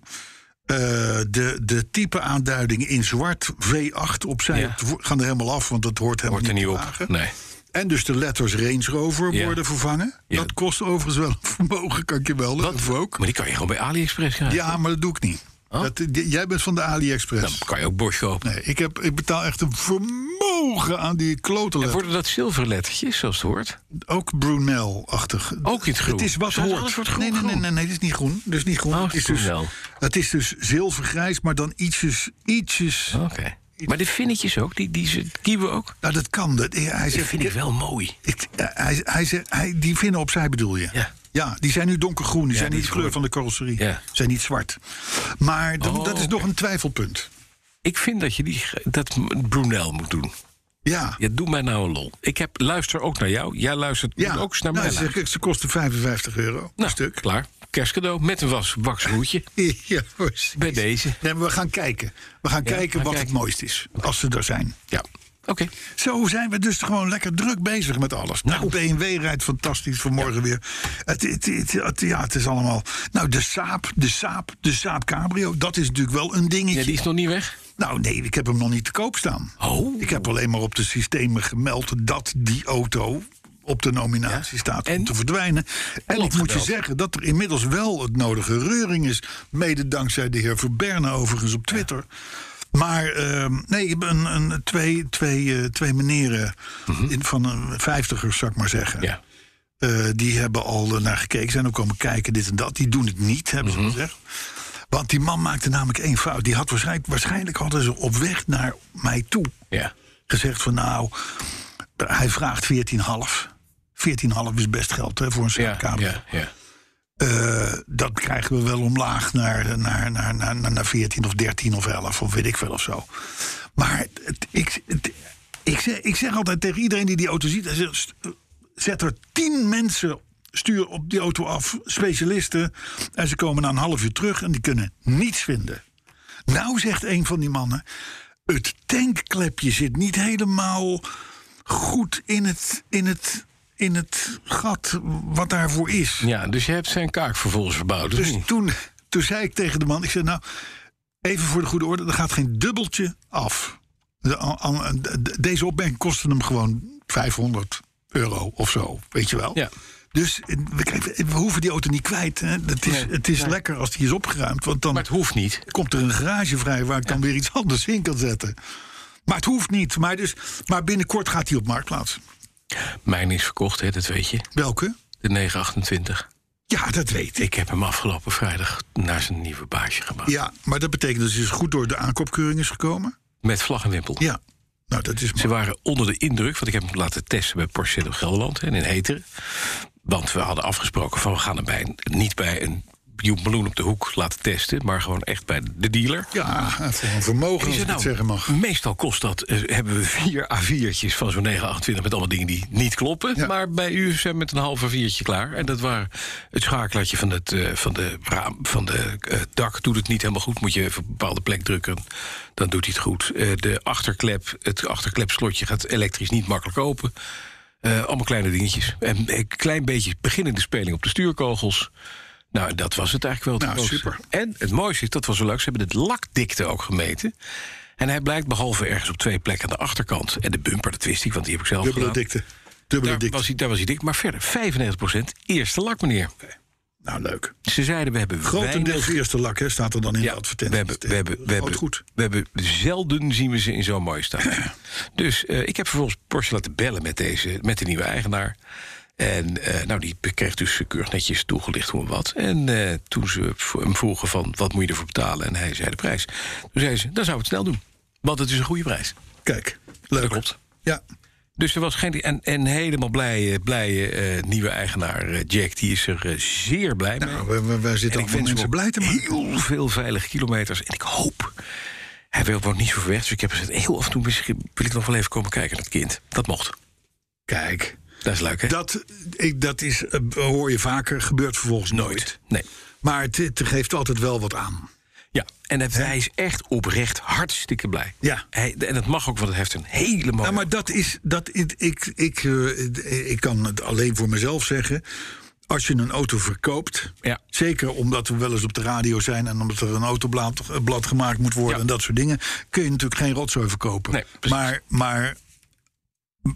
[SPEAKER 5] Eh, de, de type aanduiding in zwart V8 opzij
[SPEAKER 4] Ja.
[SPEAKER 5] Het wo- gaan er helemaal af, want dat hoort helemaal
[SPEAKER 4] Hoort er niet
[SPEAKER 5] te
[SPEAKER 4] op.
[SPEAKER 5] dragen.
[SPEAKER 4] Nee.
[SPEAKER 5] En dus de letters Range Rover
[SPEAKER 4] Ja.
[SPEAKER 5] worden vervangen.
[SPEAKER 4] Ja.
[SPEAKER 5] Dat kost overigens wel een vermogen, kan ik je wel
[SPEAKER 4] Dat
[SPEAKER 5] of ook.
[SPEAKER 4] Maar die kan je gewoon bij AliExpress krijgen.
[SPEAKER 5] Ja, maar dat doe ik niet.
[SPEAKER 4] Oh.
[SPEAKER 5] Dat, j- jij bent van de
[SPEAKER 4] Dan
[SPEAKER 5] AliExpress.
[SPEAKER 4] kan je ook Bosch kopen.
[SPEAKER 5] Nee, ik, heb, ik betaal echt een vermogen aan die klote letters.
[SPEAKER 4] Worden dat zilverlettertjes, zoals het hoort?
[SPEAKER 5] Ook Brunel-achtig.
[SPEAKER 4] Ook in het groen.
[SPEAKER 5] Het is wat
[SPEAKER 4] Dus alles
[SPEAKER 5] hoort.
[SPEAKER 4] wordt groen,
[SPEAKER 5] nee, nee, nee,
[SPEAKER 4] groen.
[SPEAKER 5] nee, nee, dit is niet groen. Dit is niet groen.
[SPEAKER 4] Oh,
[SPEAKER 5] het, is
[SPEAKER 4] groen
[SPEAKER 5] dus,
[SPEAKER 4] wel. Oh.
[SPEAKER 5] het is dus zilvergrijs, maar dan ietsjes, ietsjes,
[SPEAKER 4] Oké. Maar de vinnetjes ook, die, die, die kieven ook.
[SPEAKER 5] Nou, dat kan. Dat, hij
[SPEAKER 4] Dat
[SPEAKER 5] zegt,
[SPEAKER 4] vind ik wel mooi.
[SPEAKER 5] Ik- eh, hij, hij, zegt- hij, die vinnen opzij bedoel je?
[SPEAKER 4] Ja.
[SPEAKER 5] die zijn nu donkergroen. Die zijn
[SPEAKER 4] die
[SPEAKER 5] niet de
[SPEAKER 4] is
[SPEAKER 5] kleur
[SPEAKER 4] goed.
[SPEAKER 5] van de carrosserie.
[SPEAKER 4] Ja.
[SPEAKER 5] zijn niet zwart. Maar dan-
[SPEAKER 4] Oh,
[SPEAKER 5] dat is nog
[SPEAKER 4] oké.
[SPEAKER 5] een twijfelpunt.
[SPEAKER 4] Ik vind dat je die, dat Brunel moet doen.
[SPEAKER 5] Ja.
[SPEAKER 4] Ja, doe mij nou een lol. Ik heb, luister ook naar jou. Jij luistert moet ook eens naar
[SPEAKER 5] nou,
[SPEAKER 4] mij.
[SPEAKER 5] ze,
[SPEAKER 4] luisteren.
[SPEAKER 5] ze kosten 55 euro.
[SPEAKER 4] Nou,
[SPEAKER 5] een stuk.
[SPEAKER 4] klaar. Kerstcadeau met een was, baksroetje.
[SPEAKER 5] Ja, precies.
[SPEAKER 4] Bij deze.
[SPEAKER 5] Nee, maar we gaan kijken. We gaan
[SPEAKER 4] we
[SPEAKER 5] kijken
[SPEAKER 4] gaan
[SPEAKER 5] wat
[SPEAKER 4] kijken.
[SPEAKER 5] het mooist is. Als ze er zijn.
[SPEAKER 4] Ja, oké.
[SPEAKER 5] Zo zijn we dus gewoon lekker druk bezig met alles. Nou,
[SPEAKER 4] Nou.
[SPEAKER 5] BMW rijdt fantastisch vanmorgen weer. Het, het, het, het- ja, het is allemaal... Nou, de Saab, de Saab, de Saab Cabrio. Dat is natuurlijk wel een dingetje.
[SPEAKER 4] Ja, die is nog niet weg.
[SPEAKER 5] Nou, nee, ik heb hem nog niet te koop staan.
[SPEAKER 4] Oh.
[SPEAKER 5] Ik heb alleen maar op de systemen gemeld dat die auto op de nominatie
[SPEAKER 4] Ja.
[SPEAKER 5] staat om
[SPEAKER 4] En?
[SPEAKER 5] te verdwijnen. En ik moet je
[SPEAKER 4] gebeld.
[SPEAKER 5] zeggen dat er inmiddels wel het nodige reuring is. Mede dankzij de heer Verberne overigens op Twitter. Maar ehm, nee, ik heb een, een, twee, twee, eh, twee meneren in, van een vijftigers, zou ik maar zeggen.
[SPEAKER 4] Mhm. Ja.
[SPEAKER 5] Eh, die hebben al eh, naar gekeken, zijn ook komen kijken, dit en dat. Die doen het niet, hebben
[SPEAKER 4] Mhm.
[SPEAKER 5] ze gezegd. Want die man maakte namelijk één fout. Die had waarschijnlijk, waarschijnlijk hadden ze op weg naar mij toe
[SPEAKER 4] Ja.
[SPEAKER 5] gezegd van nou, hij vraagt 14,5. 14,5 is best geld hè, voor een
[SPEAKER 4] Ja,
[SPEAKER 5] Saab-kamer.
[SPEAKER 4] ja, ja.
[SPEAKER 5] Eh, dat krijgen we wel omlaag naar, naar, naar, naar, naar, naar 14 of 13 of 11 of weet ik veel of zo. Maar het- ik, het- ik, zeg, ik zeg altijd tegen iedereen die die auto ziet... ik zeg, st- zet er 10 mensen stuur op die auto af, specialisten... en ze komen na een half uur terug en die kunnen niets vinden. Nou zegt een van die mannen... het tankklepje zit niet helemaal goed in het... In het in het gat wat daarvoor is.
[SPEAKER 4] ja, dus je hebt zijn kaak vervolgens verbouwd. of
[SPEAKER 5] Dus
[SPEAKER 4] niet?
[SPEAKER 5] toen, toen zei ik tegen de man, ik zei nou, even voor de goede orde, er gaat geen dubbeltje af. De- an- an- de- deze opmerking kostte hem gewoon 500 euro of zo, weet je wel.
[SPEAKER 4] Ja.
[SPEAKER 5] Dus eh, we, kregen- we hoeven die auto niet kwijt. Hè. Het is,
[SPEAKER 4] Nee,
[SPEAKER 5] het is lekker als die is opgeruimd, want dan
[SPEAKER 4] Maar het hoeft niet.
[SPEAKER 5] komt er een garage vrij waar ik dan weer iets anders in kan zetten. Maar het hoeft niet. Maar, dus, maar binnenkort gaat die op marktplaats.
[SPEAKER 4] Mijn is verkocht, hè, dat weet je.
[SPEAKER 5] Welke?
[SPEAKER 4] De 928.
[SPEAKER 5] Ja, dat weet ik.
[SPEAKER 4] Ik heb hem afgelopen vrijdag naar zijn nieuwe baasje gebracht.
[SPEAKER 5] Ja, maar dat betekent dat ze dus goed door de aankoopkeuring is gekomen.
[SPEAKER 4] Met vlag en wimpel.
[SPEAKER 5] Ja, nou dat is
[SPEAKER 4] Ze waren onder de indruk, want ik heb hem laten testen bij Porsche in Gelderland en in Heteren. Want we hadden afgesproken van we gaan hem bij een- niet bij een Joep Meloen op de hoek laten testen, maar gewoon echt bij de dealer.
[SPEAKER 5] Ja, voor een vermogen als
[SPEAKER 4] En die zei,
[SPEAKER 5] ik het
[SPEAKER 4] nou,
[SPEAKER 5] zeggen mag.
[SPEAKER 4] Meestal kost dat, eh, hebben we vier A4'tjes van zo'n 928 met allemaal dingen die niet kloppen.
[SPEAKER 5] Ja.
[SPEAKER 4] Maar bij u zijn we met een half A4'tje klaar. En dat waren het schakelaartje van, het, eh, van de, raam, van de eh, dak doet het niet helemaal goed. Moet je even op een bepaalde plek drukken, dan doet hij het goed. Eh, de achterklep, het achterklepslotje gaat elektrisch niet makkelijk open. Eh, allemaal kleine dingetjes. En een klein beetje beginnende speling op de stuurkogels. Nou, dat was het eigenlijk wel. het
[SPEAKER 5] Nou,
[SPEAKER 4] grootste. En het mooiste is, dat was zo leuk, ze hebben de lakdikte ook gemeten. En hij blijkt behalve ergens op twee plekken aan de achterkant... en de bumper, dat wist ik, want die heb ik zelf
[SPEAKER 5] Dubbele
[SPEAKER 4] gedaan.
[SPEAKER 5] dikte. Dubbele
[SPEAKER 4] nou? Daar
[SPEAKER 5] dikte.
[SPEAKER 4] was, hij, daar was hij dik, maar verder, 95% eerste lak, meneer.
[SPEAKER 5] Nou, leuk.
[SPEAKER 4] Ze zeiden, we hebben weinig...
[SPEAKER 5] Grotendeels eerste lak, hè, staat er dan in
[SPEAKER 4] Ja,
[SPEAKER 5] de
[SPEAKER 4] we
[SPEAKER 5] advertentie.
[SPEAKER 4] hebben, we, hebben, we,
[SPEAKER 5] Dat
[SPEAKER 4] hebben,
[SPEAKER 5] houdt goed.
[SPEAKER 4] we hebben zelden zien we ze in zo'n mooie staat. dus eh, ik heb vervolgens Porsche laten bellen met, deze, met de nieuwe eigenaar. En eh, nou, die kreeg dus keurig netjes toegelicht hoe en wat. En eh, toen ze v- hem vroegen van wat moet je ervoor betalen... en hij zei de prijs. Toen zei ze, dan zou ik het snel doen. Want het is een goede prijs.
[SPEAKER 5] Kijk, leuk.
[SPEAKER 4] Dat klopt.
[SPEAKER 5] Ja,
[SPEAKER 4] Dus er was geen... En, en helemaal blije, blije eh, nieuwe eigenaar eh, Jack. Die is er eh, zeer blij mee.
[SPEAKER 5] nou, we, we, we zitten
[SPEAKER 4] En
[SPEAKER 5] allemaal
[SPEAKER 4] ik wens
[SPEAKER 5] mensen
[SPEAKER 4] hem
[SPEAKER 5] blij
[SPEAKER 4] blij
[SPEAKER 5] te maken.
[SPEAKER 4] heel veel veilige kilometers. En ik hoop... Hij wil ook niet zo ver weg, dus ik heb gezegd... heel af en toe misschien wil ik nog wel even komen kijken naar het kind. Dat mocht.
[SPEAKER 5] Kijk,
[SPEAKER 4] Dat is leuk, hè?
[SPEAKER 5] dat, ik, dat is, eh, hoor je vaker, gebeurt vervolgens nooit.
[SPEAKER 4] Nee.
[SPEAKER 5] Maar het, het geeft altijd wel wat aan.
[SPEAKER 4] Ja, en het, hij is echt oprecht hartstikke blij.
[SPEAKER 5] Ja.
[SPEAKER 4] Hij, en dat mag ook, want hij heeft een hele mooie...
[SPEAKER 5] Nou, maar dat is. Dat, ik, ik, ik, eh, ik kan het alleen voor mezelf zeggen. Als je een auto verkoopt.
[SPEAKER 4] Ja.
[SPEAKER 5] Zeker omdat we wel eens op de radio zijn. en omdat er een autoblad eh, blad gemaakt moet worden.
[SPEAKER 4] Ja.
[SPEAKER 5] en dat soort dingen. kun je natuurlijk geen rotzooi verkopen.
[SPEAKER 4] Nee, precies.
[SPEAKER 5] maar, maar,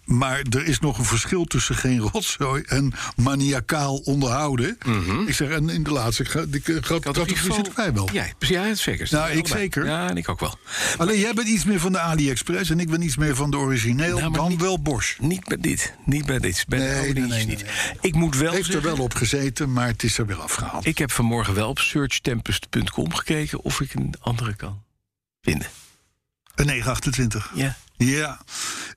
[SPEAKER 5] maar er is nog een verschil tussen geen rotzooi. en maniacaal onderhouden. Ik zeg, en in de laatste. ga- die- eh, gat-
[SPEAKER 4] had in ieder
[SPEAKER 5] categorie
[SPEAKER 4] geval-
[SPEAKER 5] zitten wij wel.
[SPEAKER 4] Mhm. Ja, precies, ja, zeker.
[SPEAKER 5] Nou,
[SPEAKER 4] Allebei.
[SPEAKER 5] ik zeker.
[SPEAKER 4] Ja, en ik ook wel.
[SPEAKER 5] Alleen jij bent iets meer van de AliExpress. en ik ben iets meer van de origineel.
[SPEAKER 4] Nou, maar
[SPEAKER 5] dan
[SPEAKER 4] niet-
[SPEAKER 5] wel Bosch.
[SPEAKER 4] Niet bij dit. Niet bij dit. Bij
[SPEAKER 5] Nee,
[SPEAKER 4] de oude
[SPEAKER 5] nee,
[SPEAKER 4] dingetjes
[SPEAKER 5] nee,
[SPEAKER 4] niet.
[SPEAKER 5] nee,
[SPEAKER 4] Ik moet wel
[SPEAKER 5] heeft er
[SPEAKER 4] zeggen-
[SPEAKER 5] wel op gezeten, maar het is er weer afgehaald.
[SPEAKER 4] Ik heb vanmorgen wel op searchtempest.com gekeken... of ik een andere kan vinden.
[SPEAKER 5] Een 928.
[SPEAKER 4] Ja.
[SPEAKER 5] Ja.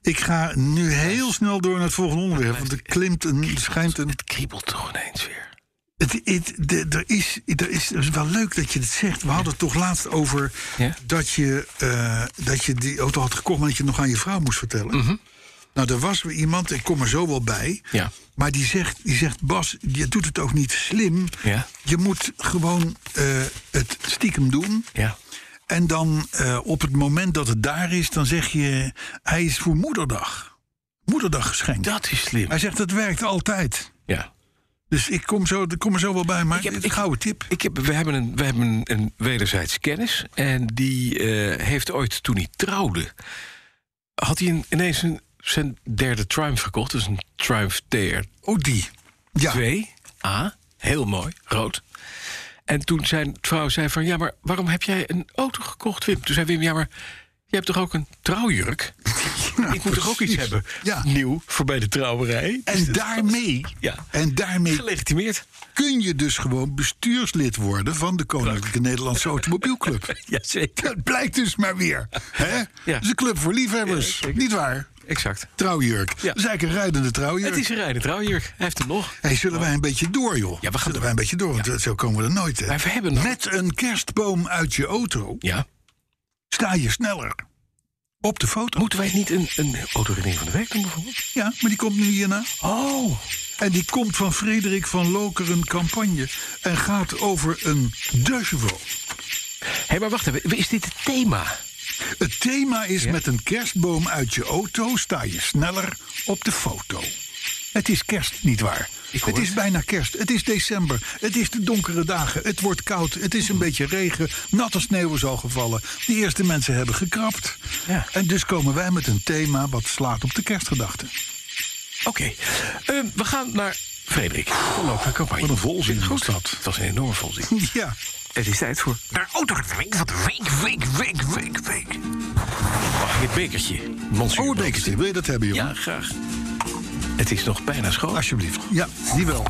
[SPEAKER 5] Ik ga nu heel snel door naar het volgende onderwerp. Want er klimt een, schijnt een
[SPEAKER 4] Het kriebelt toch ineens weer.
[SPEAKER 5] Het, het, de- er, is, er is het is wel leuk dat je dit zegt. We hadden het toch laatst over
[SPEAKER 4] Ja.
[SPEAKER 5] dat, je, eh, dat je die auto had gekocht... maar dat je het nog aan je vrouw moest vertellen. Nou, er was weer iemand, ik kom er zo wel bij...
[SPEAKER 4] Mhm. Ja.
[SPEAKER 5] maar die zegt, die zegt, Bas, je doet het ook niet slim.
[SPEAKER 4] Ja.
[SPEAKER 5] Je moet gewoon eh, het stiekem doen.
[SPEAKER 4] Ja.
[SPEAKER 5] En dan eh, op het moment dat het daar is, dan zeg je... hij is voor moederdag. Moederdag geschenk.
[SPEAKER 4] Dat is slim.
[SPEAKER 5] Hij zegt, dat werkt altijd.
[SPEAKER 4] Ja.
[SPEAKER 5] Dus ik kom, zo, ik kom er zo wel bij, maar
[SPEAKER 4] Ik heb-
[SPEAKER 5] een
[SPEAKER 4] ik-
[SPEAKER 5] gouden tip.
[SPEAKER 4] Ik heb, we hebben, een, we hebben een, een wederzijds kennis. En die eh, heeft ooit, toen hij trouwde... had hij een- ineens een, zijn derde Triumph gekocht. Dus een Triumph TR2A.
[SPEAKER 5] Oh, die. Ja.
[SPEAKER 4] Heel mooi, rood. En toen zijn vrouw zei van... ja, maar waarom heb jij een auto gekocht, Wim? Toen zei Wim, ja, maar je hebt toch ook een trouwjurk? ik moet toch ook iets
[SPEAKER 5] precies.
[SPEAKER 4] hebben?
[SPEAKER 5] Ja.
[SPEAKER 4] Nieuw, voor bij de trouwerij.
[SPEAKER 5] En daarmee,
[SPEAKER 4] Ja.
[SPEAKER 5] en daarmee
[SPEAKER 4] Gelegitimeerd.
[SPEAKER 5] kun je dus gewoon bestuurslid worden van de Koninklijke Nederlandse Automobielclub.
[SPEAKER 4] Jazeker.
[SPEAKER 5] Dat blijkt dus maar weer. Hè?
[SPEAKER 4] Ja.
[SPEAKER 5] Het is een club voor liefhebbers, niet waar?
[SPEAKER 4] Exact.
[SPEAKER 5] Trouwjurk.
[SPEAKER 4] Ja.
[SPEAKER 5] Dat is eigenlijk een rijdende trouwjurk.
[SPEAKER 4] Het is een rijden trouwjurk. Hij heeft hem nog.
[SPEAKER 5] Hey, zullen wij een beetje door, joh?
[SPEAKER 4] Ja, we gaan
[SPEAKER 5] zullen
[SPEAKER 4] door.
[SPEAKER 5] wij een beetje door, want zo komen we er nooit. Hè?
[SPEAKER 4] Maar we hebben nog-
[SPEAKER 5] Met een kerstboom uit je auto
[SPEAKER 4] Ja.
[SPEAKER 5] sta je sneller op de foto.
[SPEAKER 4] Moeten wij niet een, een autorinning van de week doen bijvoorbeeld?
[SPEAKER 5] Ja, maar die komt nu hierna.
[SPEAKER 4] Oh.
[SPEAKER 5] En die komt van Frederik van Lokeren Campagne. En gaat over een duivel.
[SPEAKER 4] Hé, maar wacht even. Is dit het thema?
[SPEAKER 5] Het thema is met een kerstboom uit je auto sta je sneller op de foto. Het is kerst, nietwaar?
[SPEAKER 4] hoor
[SPEAKER 5] Het is
[SPEAKER 4] het.
[SPEAKER 5] bijna kerst. Het is december. Het is de donkere dagen. Het wordt koud. Het is een beetje regen. Natte sneeuw is al gevallen. De eerste mensen hebben gekrapt.
[SPEAKER 4] Ja.
[SPEAKER 5] En dus komen wij met een thema wat slaat op de kerstgedachten.
[SPEAKER 4] Oké. Ehm, we gaan naar Frederik. Van Lokeren campagne.
[SPEAKER 5] Wat een volzin
[SPEAKER 4] Goed.
[SPEAKER 5] was dat.
[SPEAKER 4] Het was een enorme volzin.
[SPEAKER 5] Ja.
[SPEAKER 4] Het is tijd voor de autorinning van de week, week, week, week, week. Mag ik het bekertje? Monsieur
[SPEAKER 5] Oh, het bekertje. Wil je dat hebben, jongen?
[SPEAKER 4] Ja, graag. Het is nog bijna schoon.
[SPEAKER 5] Alsjeblieft. Ja, die wel.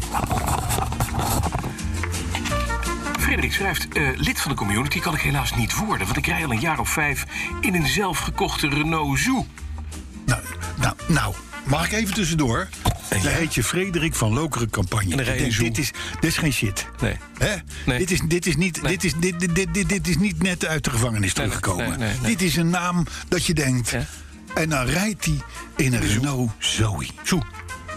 [SPEAKER 4] Frederik schrijft, eh, lid van de community kan ik helaas niet worden... want ik rij al een jaar of vijf in een zelfgekochte Renault Zoo.
[SPEAKER 5] Nou, nou, nou, mag ik even tussendoor? Dan
[SPEAKER 4] Ja.
[SPEAKER 5] heet je Frederik van Lokeren Campagne.
[SPEAKER 4] dan rij je
[SPEAKER 5] Ik denk,
[SPEAKER 4] zo.
[SPEAKER 5] dit, is, dit is geen shit.
[SPEAKER 4] Nee.
[SPEAKER 5] Hè?
[SPEAKER 4] Nee.
[SPEAKER 5] Dit, is, dit, is niet, dit, is, dit, dit, dit, dit, dit is niet net uit de gevangenis
[SPEAKER 4] nee,
[SPEAKER 5] teruggekomen.
[SPEAKER 4] nee, nee, nee.
[SPEAKER 5] Dit is een naam dat je denkt.
[SPEAKER 4] Ja.
[SPEAKER 5] En dan rijdt hij in een Renault Zoe.
[SPEAKER 4] Zoo.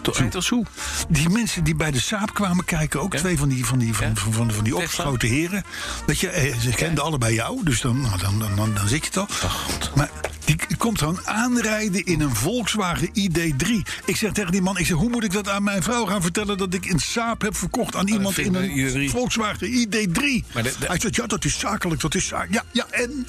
[SPEAKER 4] Toch rijdt als Zoo.
[SPEAKER 5] Die mensen die bij de Saab kwamen kijken, ook
[SPEAKER 4] Ja.
[SPEAKER 5] twee van die, van die, van,
[SPEAKER 4] Ja.
[SPEAKER 5] van, van, van die opgeschoten heren. Dat je, eh, ze kenden allebei jou, dus dan, nou, dan, dan, dan, dan zit je het al. maar die k- komt gewoon aanrijden in een Volkswagen ID3. Ik zeg tegen die man, ik zeg, hoe moet ik dat aan mijn vrouw gaan vertellen... dat ik een Saab heb verkocht
[SPEAKER 4] Oh,
[SPEAKER 5] aan iemand in
[SPEAKER 4] vriend
[SPEAKER 5] een
[SPEAKER 4] met een ID3.
[SPEAKER 5] Volkswagen ID3?
[SPEAKER 4] Maar de- de-
[SPEAKER 5] Hij zegt, ja, dat is zakelijk, dat is zakelijk. Ja, ja, en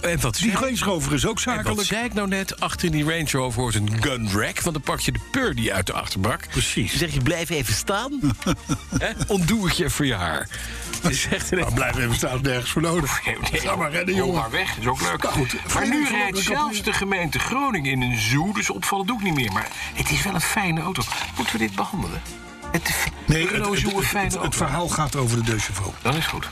[SPEAKER 4] En wat
[SPEAKER 5] die Greenschover is ook
[SPEAKER 4] En wat
[SPEAKER 5] zakelijk.
[SPEAKER 4] zei ik nou net? Achter in die Range Rover hoort een gun rack. Want dan pak je de Purdy uit de achterbak.
[SPEAKER 5] Precies.
[SPEAKER 4] Dan zeg je, blijf even staan. Hè? Ontdoe het je voor je haar. Je zegt ineens,
[SPEAKER 5] Maar blijf even staan, nergens voor nodig. Ga maar rennen,
[SPEAKER 4] Rol
[SPEAKER 5] jongen.
[SPEAKER 4] maar weg, is ook leuk.
[SPEAKER 5] Nou goed,
[SPEAKER 4] maar nu
[SPEAKER 5] Frederik
[SPEAKER 4] rijdt
[SPEAKER 5] van Lokeren-
[SPEAKER 4] zelfs de gemeente Groningen in een zoo, dus opvallen doe ik niet meer. Maar het is wel een fijne auto. Moeten we dit behandelen? Het,
[SPEAKER 5] Nee,
[SPEAKER 4] de
[SPEAKER 5] het,
[SPEAKER 4] Renault
[SPEAKER 5] het,
[SPEAKER 4] Zoo, een
[SPEAKER 5] het,
[SPEAKER 4] fijne
[SPEAKER 5] het- het
[SPEAKER 4] auto.
[SPEAKER 5] verhaal gaat over de Deuchevo.
[SPEAKER 4] Dan is goed.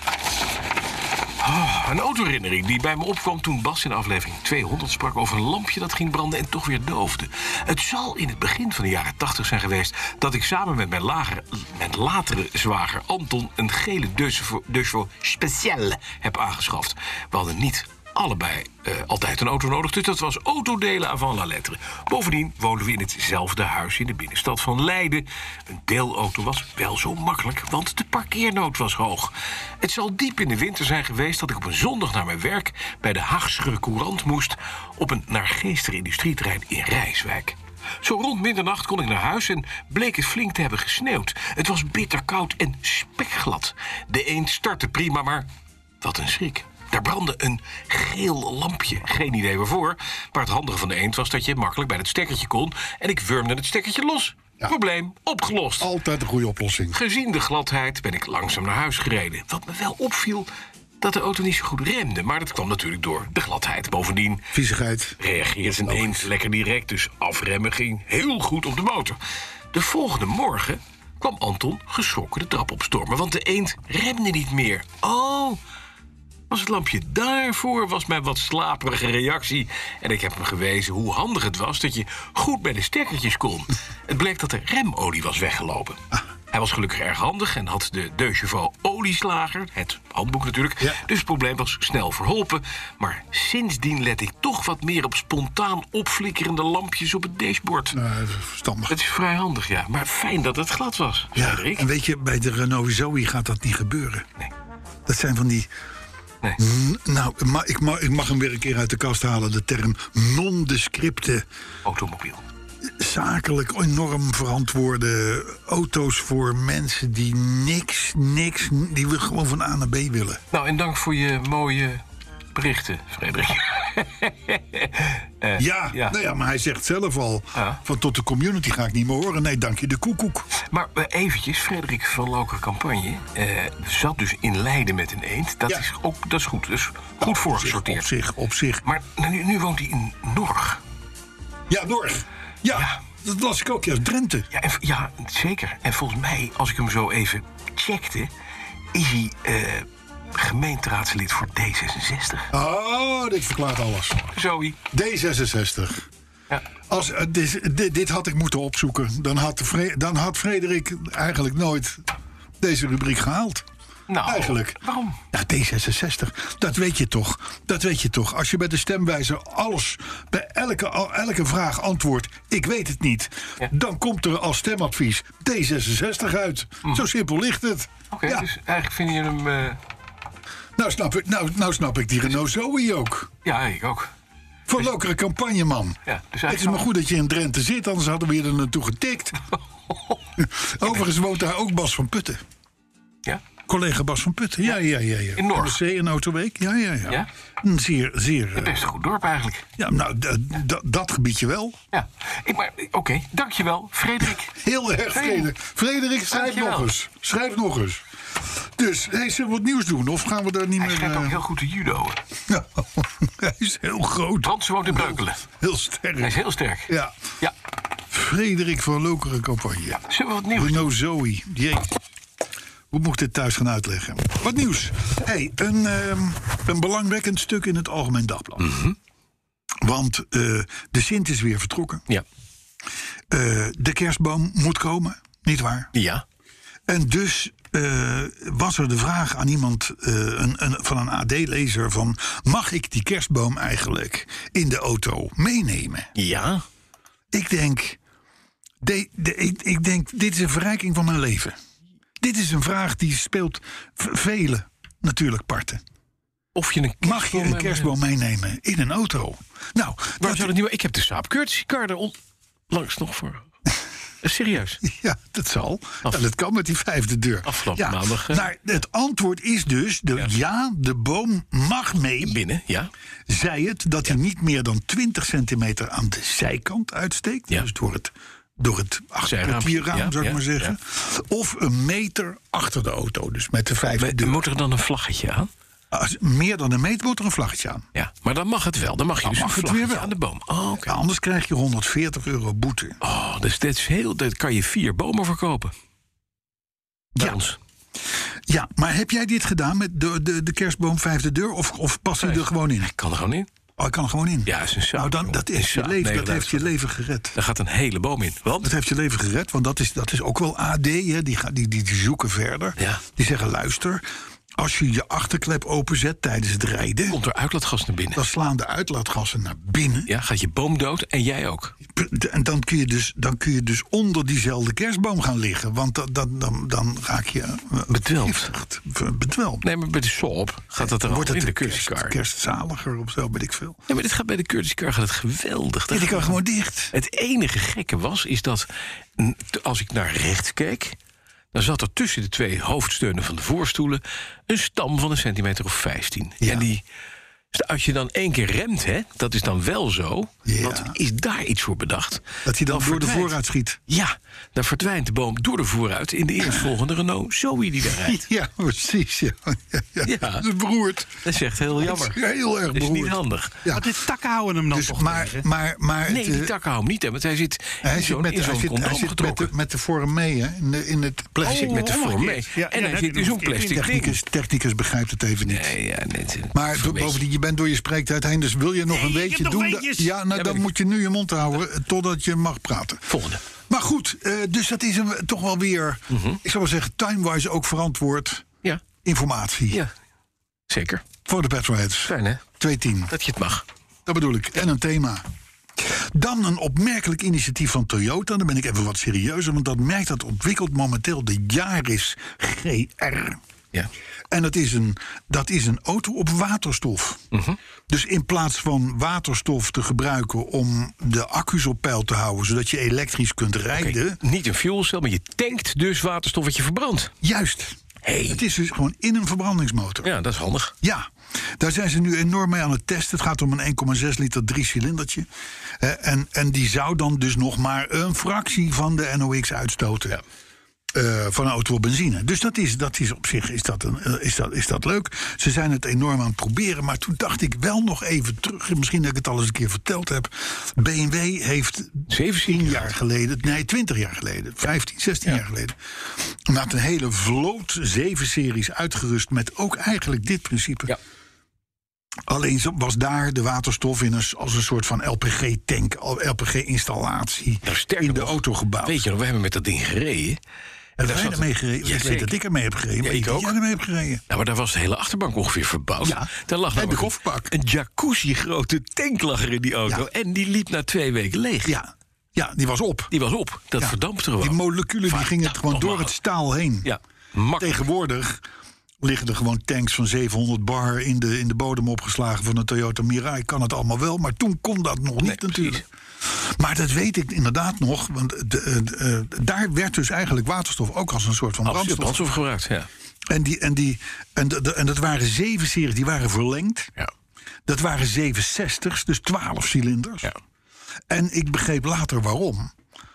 [SPEAKER 4] Ah, een autoherinnering die bij me opkwam toen Bas in aflevering 200 sprak over een lampje dat ging branden en toch weer doofde. Het zal in het begin van de jaren 80 zijn geweest dat ik samen met mijn, lager, mijn latere zwager Anton een gele Deucevo Deucevo Speciale heb aangeschaft. We hadden niet allebei eh, altijd een auto nodig, dus dat was autodelen avant la lettre. Bovendien woonden we in hetzelfde huis in de binnenstad van Leiden. Een deelauto was wel zo makkelijk, want de parkeernood was hoog. Het zal diep in de winter zijn geweest dat ik op een zondag naar mijn werk bij de Haagse Courant moest op een naargeestere industrieterrein in Rijswijk. Zo rond middernacht kon ik naar huis en bleek het flink te hebben gesneeuwd. Het was bitterkoud en spekglad. De een startte prima, maar wat een schrik. Daar brandde een geel lampje. Geen idee waarvoor. Maar het handige van de eend was dat je makkelijk bij het stekkertje kon. En ik wurmde het stekkertje los. Probleem opgelost.
[SPEAKER 5] Altijd een goede oplossing.
[SPEAKER 4] Gezien de gladheid ben ik langzaam naar huis gereden. Wat me wel opviel, dat de auto niet zo goed remde. Maar dat kwam natuurlijk door de gladheid. Bovendien
[SPEAKER 5] Viezigheid.
[SPEAKER 4] reageert een eend lekker direct, dus afremmen ging heel goed op de motor. De volgende morgen kwam Anton geschrokken de trap opstormen, want de eend remde niet meer. Oh, was het lampje daarvoor, was mijn wat slaperige reactie. En ik heb hem gewezen hoe handig het was dat je goed bij de stekkertjes kon. Het bleek dat de remolie was weggelopen. Hij was gelukkig erg handig en had de Deux olieslager, het handboek natuurlijk.
[SPEAKER 5] Ja.
[SPEAKER 4] Dus het probleem was snel verholpen. Maar sindsdien let ik toch wat meer op spontaan opflikkerende lampjes op het dashboard.
[SPEAKER 5] Nou, verstandig.
[SPEAKER 4] Het is vrij handig, ja. Maar fijn dat het glad was,
[SPEAKER 5] Ja,
[SPEAKER 4] Frederik.
[SPEAKER 5] en weet je, bij de Renault Zoe gaat dat niet gebeuren.
[SPEAKER 4] Nee.
[SPEAKER 5] Dat zijn van die...
[SPEAKER 4] Nee.
[SPEAKER 5] N- Nou, ma- ik, ma- ik mag hem weer een keer uit de kast halen. De term non-descripte,
[SPEAKER 4] Automobiel.
[SPEAKER 5] zakelijk enorm verantwoorde auto's voor mensen die niks, niks... die we gewoon van A naar B willen.
[SPEAKER 4] Nou, en dank voor je mooie berichten, Frederik. Eh,
[SPEAKER 5] ja,
[SPEAKER 4] ja.
[SPEAKER 5] Nou ja, maar hij zegt zelf al...
[SPEAKER 4] Ja.
[SPEAKER 5] van tot de community ga ik niet meer horen. Nee, dank je de koekoek.
[SPEAKER 4] Maar eh, eventjes, Frederik van Loker Campagne eh, zat dus in Leiden met een eend. Dat,
[SPEAKER 5] Ja.
[SPEAKER 4] is, ook, dat is goed, dus goed
[SPEAKER 5] Op
[SPEAKER 4] voorgesorteerd.
[SPEAKER 5] zich, op zich.
[SPEAKER 4] Maar nou, nu, nu woont hij in Norg.
[SPEAKER 5] Ja, Norg. Ja,
[SPEAKER 4] Ja.
[SPEAKER 5] dat las ik ook. Ja, Drenthe.
[SPEAKER 4] Ja, en v- ja, zeker. En volgens mij, als ik hem zo even checkte... is hij eh, gemeenteraadslid voor D66.
[SPEAKER 5] Oh, dit verklaart alles.
[SPEAKER 4] Zoe.
[SPEAKER 5] D66.
[SPEAKER 4] Ja.
[SPEAKER 5] Als, eh, dit, dit, dit had ik moeten opzoeken. Dan had, Fre- dan had Frederik eigenlijk nooit deze rubriek gehaald.
[SPEAKER 4] Nou,
[SPEAKER 5] Eigenlijk.
[SPEAKER 4] Waarom?
[SPEAKER 5] Ja, D66, dat weet je toch. Dat weet je toch. Als je bij de stemwijzer alles, bij elke, al- elke vraag antwoordt... ik weet het niet,
[SPEAKER 4] Ja.
[SPEAKER 5] dan komt er als stemadvies D66 uit. Zo simpel ligt het.
[SPEAKER 4] Mm. Oké,
[SPEAKER 5] Ja.
[SPEAKER 4] dus eigenlijk vind je hem... eh,
[SPEAKER 5] Nou, snap ik, nou, nou snap ik die Renault Zoe ook.
[SPEAKER 4] ja, ik ook.
[SPEAKER 5] Voor lokere campagne, man.
[SPEAKER 4] Dus- Ja, dus
[SPEAKER 5] het is maar
[SPEAKER 4] eigenlijk-
[SPEAKER 5] goed dat je in Drenthe zit, anders hadden we je er naartoe getikt. Overigens woont daar ook Bas van Putten.
[SPEAKER 4] Ja?
[SPEAKER 5] Collega Bas van Putten, ja, ja, ja. ja.
[SPEAKER 4] In Norg.
[SPEAKER 5] NRC in Autoweek, ja, ja, ja.
[SPEAKER 4] Ja?
[SPEAKER 5] Een Zeer, zeer. eh,
[SPEAKER 4] Best een goed dorp eigenlijk.
[SPEAKER 5] ja, nou, d- d- dat gebiedje wel.
[SPEAKER 4] Ja. Ik, maar oké, dankjewel, Frederik.
[SPEAKER 5] Heel erg
[SPEAKER 4] Hey.
[SPEAKER 5] vredig. Frederik, schrijf
[SPEAKER 4] Dankjewel.
[SPEAKER 5] nog eens. Schrijf nog eens. Dus, hey, zullen we wat nieuws doen? Of gaan we daar niet
[SPEAKER 4] Hij
[SPEAKER 5] meer...
[SPEAKER 4] schijnt ook
[SPEAKER 5] eh,
[SPEAKER 4] heel goed te judoën.
[SPEAKER 5] hij is heel groot.
[SPEAKER 4] Want ze woont in Breukelen.
[SPEAKER 5] Heel
[SPEAKER 4] Hij is
[SPEAKER 5] sterk.
[SPEAKER 4] heel sterk.
[SPEAKER 5] Ja.
[SPEAKER 4] Ja.
[SPEAKER 5] Frederik van Lokeren Campagne.
[SPEAKER 4] Zullen we wat nieuws?
[SPEAKER 5] Bruno Zoe. Jee. Hoe moet ik dit thuis gaan uitleggen? Wat nieuws. hey, een, ehm, een belangwekkend stuk in het Algemeen Dagblad.
[SPEAKER 4] Mhm.
[SPEAKER 5] Want eh, de Sint is weer vertrokken.
[SPEAKER 4] Ja.
[SPEAKER 5] Eh, de kerstboom moet komen, niet waar?
[SPEAKER 4] Ja.
[SPEAKER 5] En dus eh, was er de vraag aan iemand eh, een, een, van een AD-lezer van... mag ik die kerstboom eigenlijk in de auto meenemen?
[SPEAKER 4] Ja.
[SPEAKER 5] Ik denk, de- de- ik, ik denk, dit is een verrijking van mijn leven. Dit is een vraag die speelt v- vele natuurlijk parten.
[SPEAKER 4] Of je een
[SPEAKER 5] Mag je een kerstboom meenemen in een auto? Nou,
[SPEAKER 4] Waar
[SPEAKER 5] dat,
[SPEAKER 4] zou dat niet... Ik heb de Saab Curtis car er on- langs nog voor. Serieus.
[SPEAKER 5] ja, dat zal. Ja, dat kan met die vijfde deur.
[SPEAKER 4] Afgelopen
[SPEAKER 5] ja,
[SPEAKER 4] maandag, eh.
[SPEAKER 5] Maar het antwoord is dus, de, ja. de boom mag mee.
[SPEAKER 4] Binnen, ja.
[SPEAKER 5] Zij het dat hij niet meer dan 20 centimeter aan de zijkant uitsteekt.
[SPEAKER 4] Ja.
[SPEAKER 5] Dus door het, door het achterportierraam,
[SPEAKER 4] ja,
[SPEAKER 5] zou ik
[SPEAKER 4] ja,
[SPEAKER 5] maar zeggen. Of een meter achter de auto, dus met de vijfde deur.
[SPEAKER 4] Moet er dan een vlaggetje aan?
[SPEAKER 5] Als meer dan een meter wordt er een vlaggetje aan.
[SPEAKER 4] Ja. Maar dan mag het wel. Dan mag je dus
[SPEAKER 5] mag het
[SPEAKER 4] een
[SPEAKER 5] weer
[SPEAKER 4] vlaggetje
[SPEAKER 5] wel.
[SPEAKER 4] aan de boom. Oh, oké.
[SPEAKER 5] Ja, anders krijg je 140 euro boete.
[SPEAKER 4] Oh, dus dat is heel... Dat kan je vier bomen verkopen. Bij
[SPEAKER 5] Ja.
[SPEAKER 4] ons.
[SPEAKER 5] Ja, maar heb jij dit gedaan met de, de, de kerstboom vijfde deur? Of, of past hij er gewoon in?
[SPEAKER 4] Kan er gewoon in.
[SPEAKER 5] Oh, hij kan er gewoon in.
[SPEAKER 4] Ja, is een Saab.
[SPEAKER 5] nou, dan,
[SPEAKER 4] jongen.
[SPEAKER 5] dat,
[SPEAKER 4] Een
[SPEAKER 5] is je
[SPEAKER 4] Saab
[SPEAKER 5] leven, dat heeft je
[SPEAKER 4] 9000.
[SPEAKER 5] leven gered.
[SPEAKER 4] Daar gaat een hele boom in.
[SPEAKER 5] Dat
[SPEAKER 4] Want
[SPEAKER 5] heeft je leven gered, want dat is, dat is ook wel AD. Hè? Die, ga- die, die, die zoeken verder.
[SPEAKER 4] Ja.
[SPEAKER 5] Die zeggen, luister, als je je achterklep openzet tijdens het rijden...
[SPEAKER 4] komt er uitlaatgas naar binnen.
[SPEAKER 5] dan slaan de uitlaatgassen naar binnen.
[SPEAKER 4] Ja, gaat je boom dood en jij ook.
[SPEAKER 5] En dan kun, je dus, dan kun je dus onder diezelfde kerstboom gaan liggen. Want dan, dan, dan, dan raak je eh,
[SPEAKER 4] Bedwelmd.
[SPEAKER 5] vergiftigd, ver- Bedwelmd.
[SPEAKER 4] Nee, maar bij de Saab gaat dat er
[SPEAKER 5] Wordt
[SPEAKER 4] al
[SPEAKER 5] het
[SPEAKER 4] in de
[SPEAKER 5] een kerst,
[SPEAKER 4] cursicar.
[SPEAKER 5] kerstzaliger of zo, weet ik veel.
[SPEAKER 4] Ja, maar dit gaat bij de cursicar gaat het geweldig.
[SPEAKER 5] Ja, die kan gewoon dicht.
[SPEAKER 4] Het enige gekke was, is dat n- t- als ik naar rechts keek... dan zat er tussen de twee hoofdsteunen van de voorstoelen... een stam van een centimeter of 15.
[SPEAKER 5] Ja.
[SPEAKER 4] En die, Dus als je dan één keer remt, hè, dat is dan wel zo.
[SPEAKER 5] Ja.
[SPEAKER 4] Want is daar iets voor bedacht?
[SPEAKER 5] Dat hij dan door de
[SPEAKER 4] verdwijnt-
[SPEAKER 5] vooruit schiet.
[SPEAKER 4] Ja, dan verdwijnt de boom door de vooruit in de eerstvolgende Renault Zoe die daar rijdt.
[SPEAKER 5] Ja, precies. Ja. Ja, ja.
[SPEAKER 4] Ja.
[SPEAKER 5] Dat is beroerd.
[SPEAKER 4] Dat is echt heel jammer.
[SPEAKER 5] Dat is heel erg
[SPEAKER 4] Dat is niet
[SPEAKER 5] beroerd.
[SPEAKER 4] handig.
[SPEAKER 5] Ja.
[SPEAKER 6] Maar de takken houden hem dan
[SPEAKER 5] Dus,
[SPEAKER 6] toch
[SPEAKER 5] maar,
[SPEAKER 6] tegen?
[SPEAKER 5] maar, maar
[SPEAKER 4] Nee,
[SPEAKER 5] het,
[SPEAKER 4] die
[SPEAKER 5] eh,
[SPEAKER 4] takken houden hem niet, hè, want hij zit
[SPEAKER 5] hij
[SPEAKER 4] in
[SPEAKER 5] zit
[SPEAKER 4] zo'n
[SPEAKER 5] met,
[SPEAKER 4] in
[SPEAKER 5] hij
[SPEAKER 4] zo'n
[SPEAKER 5] zit, hij
[SPEAKER 4] condoom
[SPEAKER 5] zit met, de,
[SPEAKER 4] getrokken.
[SPEAKER 5] met de vorm mee, hè? In, de, in het
[SPEAKER 4] Hij
[SPEAKER 5] plastic.
[SPEAKER 4] zit met de
[SPEAKER 6] Oh,
[SPEAKER 4] vorm mee.
[SPEAKER 6] omgekeerd. Ja,
[SPEAKER 4] En
[SPEAKER 6] ja,
[SPEAKER 4] hij
[SPEAKER 6] dat
[SPEAKER 4] zit in
[SPEAKER 6] hoeft
[SPEAKER 4] zo'n
[SPEAKER 6] niet.
[SPEAKER 4] dus plastic ding.
[SPEAKER 5] technicus, technicus begrijpt het even niet.
[SPEAKER 4] Nee, ja, net,
[SPEAKER 5] Maar
[SPEAKER 4] vermeest.
[SPEAKER 5] bovendien, je bent door je spreektijd heen, dus wil je nog
[SPEAKER 6] Nee,
[SPEAKER 5] een
[SPEAKER 6] ik heb
[SPEAKER 5] beetje
[SPEAKER 6] nog
[SPEAKER 5] doen?
[SPEAKER 6] weetjes.
[SPEAKER 5] da- ja, nou,
[SPEAKER 4] weet
[SPEAKER 5] dan
[SPEAKER 4] ik.
[SPEAKER 5] moet je nu je mond houden eh, totdat je mag praten.
[SPEAKER 4] Volgende.
[SPEAKER 5] Maar goed, eh, dus dat is hem toch wel weer,
[SPEAKER 4] Mhm.
[SPEAKER 5] ik zou wel zeggen, time-wise ook verantwoord
[SPEAKER 4] Ja,
[SPEAKER 5] informatie
[SPEAKER 4] ja. Zeker.
[SPEAKER 5] voor de Petrolheads.
[SPEAKER 4] Fijn, hè?
[SPEAKER 5] 210,
[SPEAKER 4] Dat je het mag.
[SPEAKER 5] dat bedoel ik. En een thema. Dan een opmerkelijk initiatief van Toyota. Dan ben ik even wat serieuzer, want dat merk dat ontwikkelt momenteel de Yaris GR.
[SPEAKER 4] Ja.
[SPEAKER 5] En dat is een, dat is een auto op waterstof.
[SPEAKER 4] Mhm.
[SPEAKER 5] Dus in plaats van waterstof te gebruiken om de accu's op peil te houden, zodat je elektrisch kunt rijden.
[SPEAKER 4] Niet een fuelcel, maar je tankt dus waterstof wat je verbrandt.
[SPEAKER 5] Juist.
[SPEAKER 4] Hey.
[SPEAKER 5] Het is dus gewoon in een verbrandingsmotor.
[SPEAKER 4] Ja, dat is handig.
[SPEAKER 5] Ja, daar zijn ze nu enorm mee aan het testen. Het gaat om een 1,6 liter driecilindertje. Eh, en, en die zou dan dus nog maar een fractie van de NOx uitstoten. Eh, van een auto op benzine. Dus dat is, dat is op zich is dat een, eh, is dat, is dat leuk. Ze zijn het enorm aan het proberen. Maar toen dacht ik wel nog even terug. Misschien dat ik het al eens een keer verteld heb. BMW heeft
[SPEAKER 4] Zeven
[SPEAKER 5] 10
[SPEAKER 4] cylinder.
[SPEAKER 5] jaar geleden, nee, 20 jaar geleden, 15, 16 jaar geleden. Laat een hele vloot 7 series uitgerust met ook eigenlijk dit principe.
[SPEAKER 4] Ja.
[SPEAKER 5] Alleen zo- was daar de waterstof in een, s- als een soort van LPG-tank, LPG-installatie
[SPEAKER 4] Nou, sterker
[SPEAKER 5] in de
[SPEAKER 4] nog,
[SPEAKER 5] auto gebouwd.
[SPEAKER 4] Weet je nog, we hebben met dat ding gereden.
[SPEAKER 5] en
[SPEAKER 4] daar
[SPEAKER 5] wij
[SPEAKER 4] zat-
[SPEAKER 5] ermee gereden.
[SPEAKER 4] Ja,
[SPEAKER 5] ik weet
[SPEAKER 4] zeker.
[SPEAKER 5] dat ik ermee heb gereden. maar
[SPEAKER 4] ik
[SPEAKER 5] ik weet dat
[SPEAKER 4] ook.
[SPEAKER 5] jij ermee hebt gereden.
[SPEAKER 4] Nou, maar daar was de hele achterbank ongeveer verbouwd.
[SPEAKER 5] Ja.
[SPEAKER 4] Daar lag
[SPEAKER 5] En de
[SPEAKER 4] namelijk een-
[SPEAKER 5] kofferbak.
[SPEAKER 4] Een jacuzzi grote tank lag er in die auto.
[SPEAKER 5] Ja.
[SPEAKER 4] En die liep na twee weken leeg.
[SPEAKER 5] Ja, ja die was op.
[SPEAKER 4] Die was op. Dat
[SPEAKER 5] Ja.
[SPEAKER 4] verdampte gewoon.
[SPEAKER 5] Die moleculen die gingen
[SPEAKER 4] Verdampte
[SPEAKER 5] gewoon door het
[SPEAKER 4] makkelijk.
[SPEAKER 5] staal heen.
[SPEAKER 4] Ja, makkelijk.
[SPEAKER 5] Tegenwoordig liggen er gewoon tanks van 700 bar in de, in de bodem opgeslagen van een Toyota Mirai. Kan het allemaal wel, maar toen kon dat nog niet natuurlijk. Maar dat weet ik inderdaad nog, want de, eh, de, eh, daar werd dus eigenlijk waterstof ook als een soort van
[SPEAKER 4] Absoluut
[SPEAKER 5] brandstof.
[SPEAKER 4] brandstof gebruikt, ja.
[SPEAKER 5] En, die, en, die, en, de- de- en dat waren zeven series, die waren verlengd.
[SPEAKER 4] Ja.
[SPEAKER 5] Dat waren 760's, dus 12 cilinders.
[SPEAKER 4] Ja.
[SPEAKER 5] En ik begreep later waarom.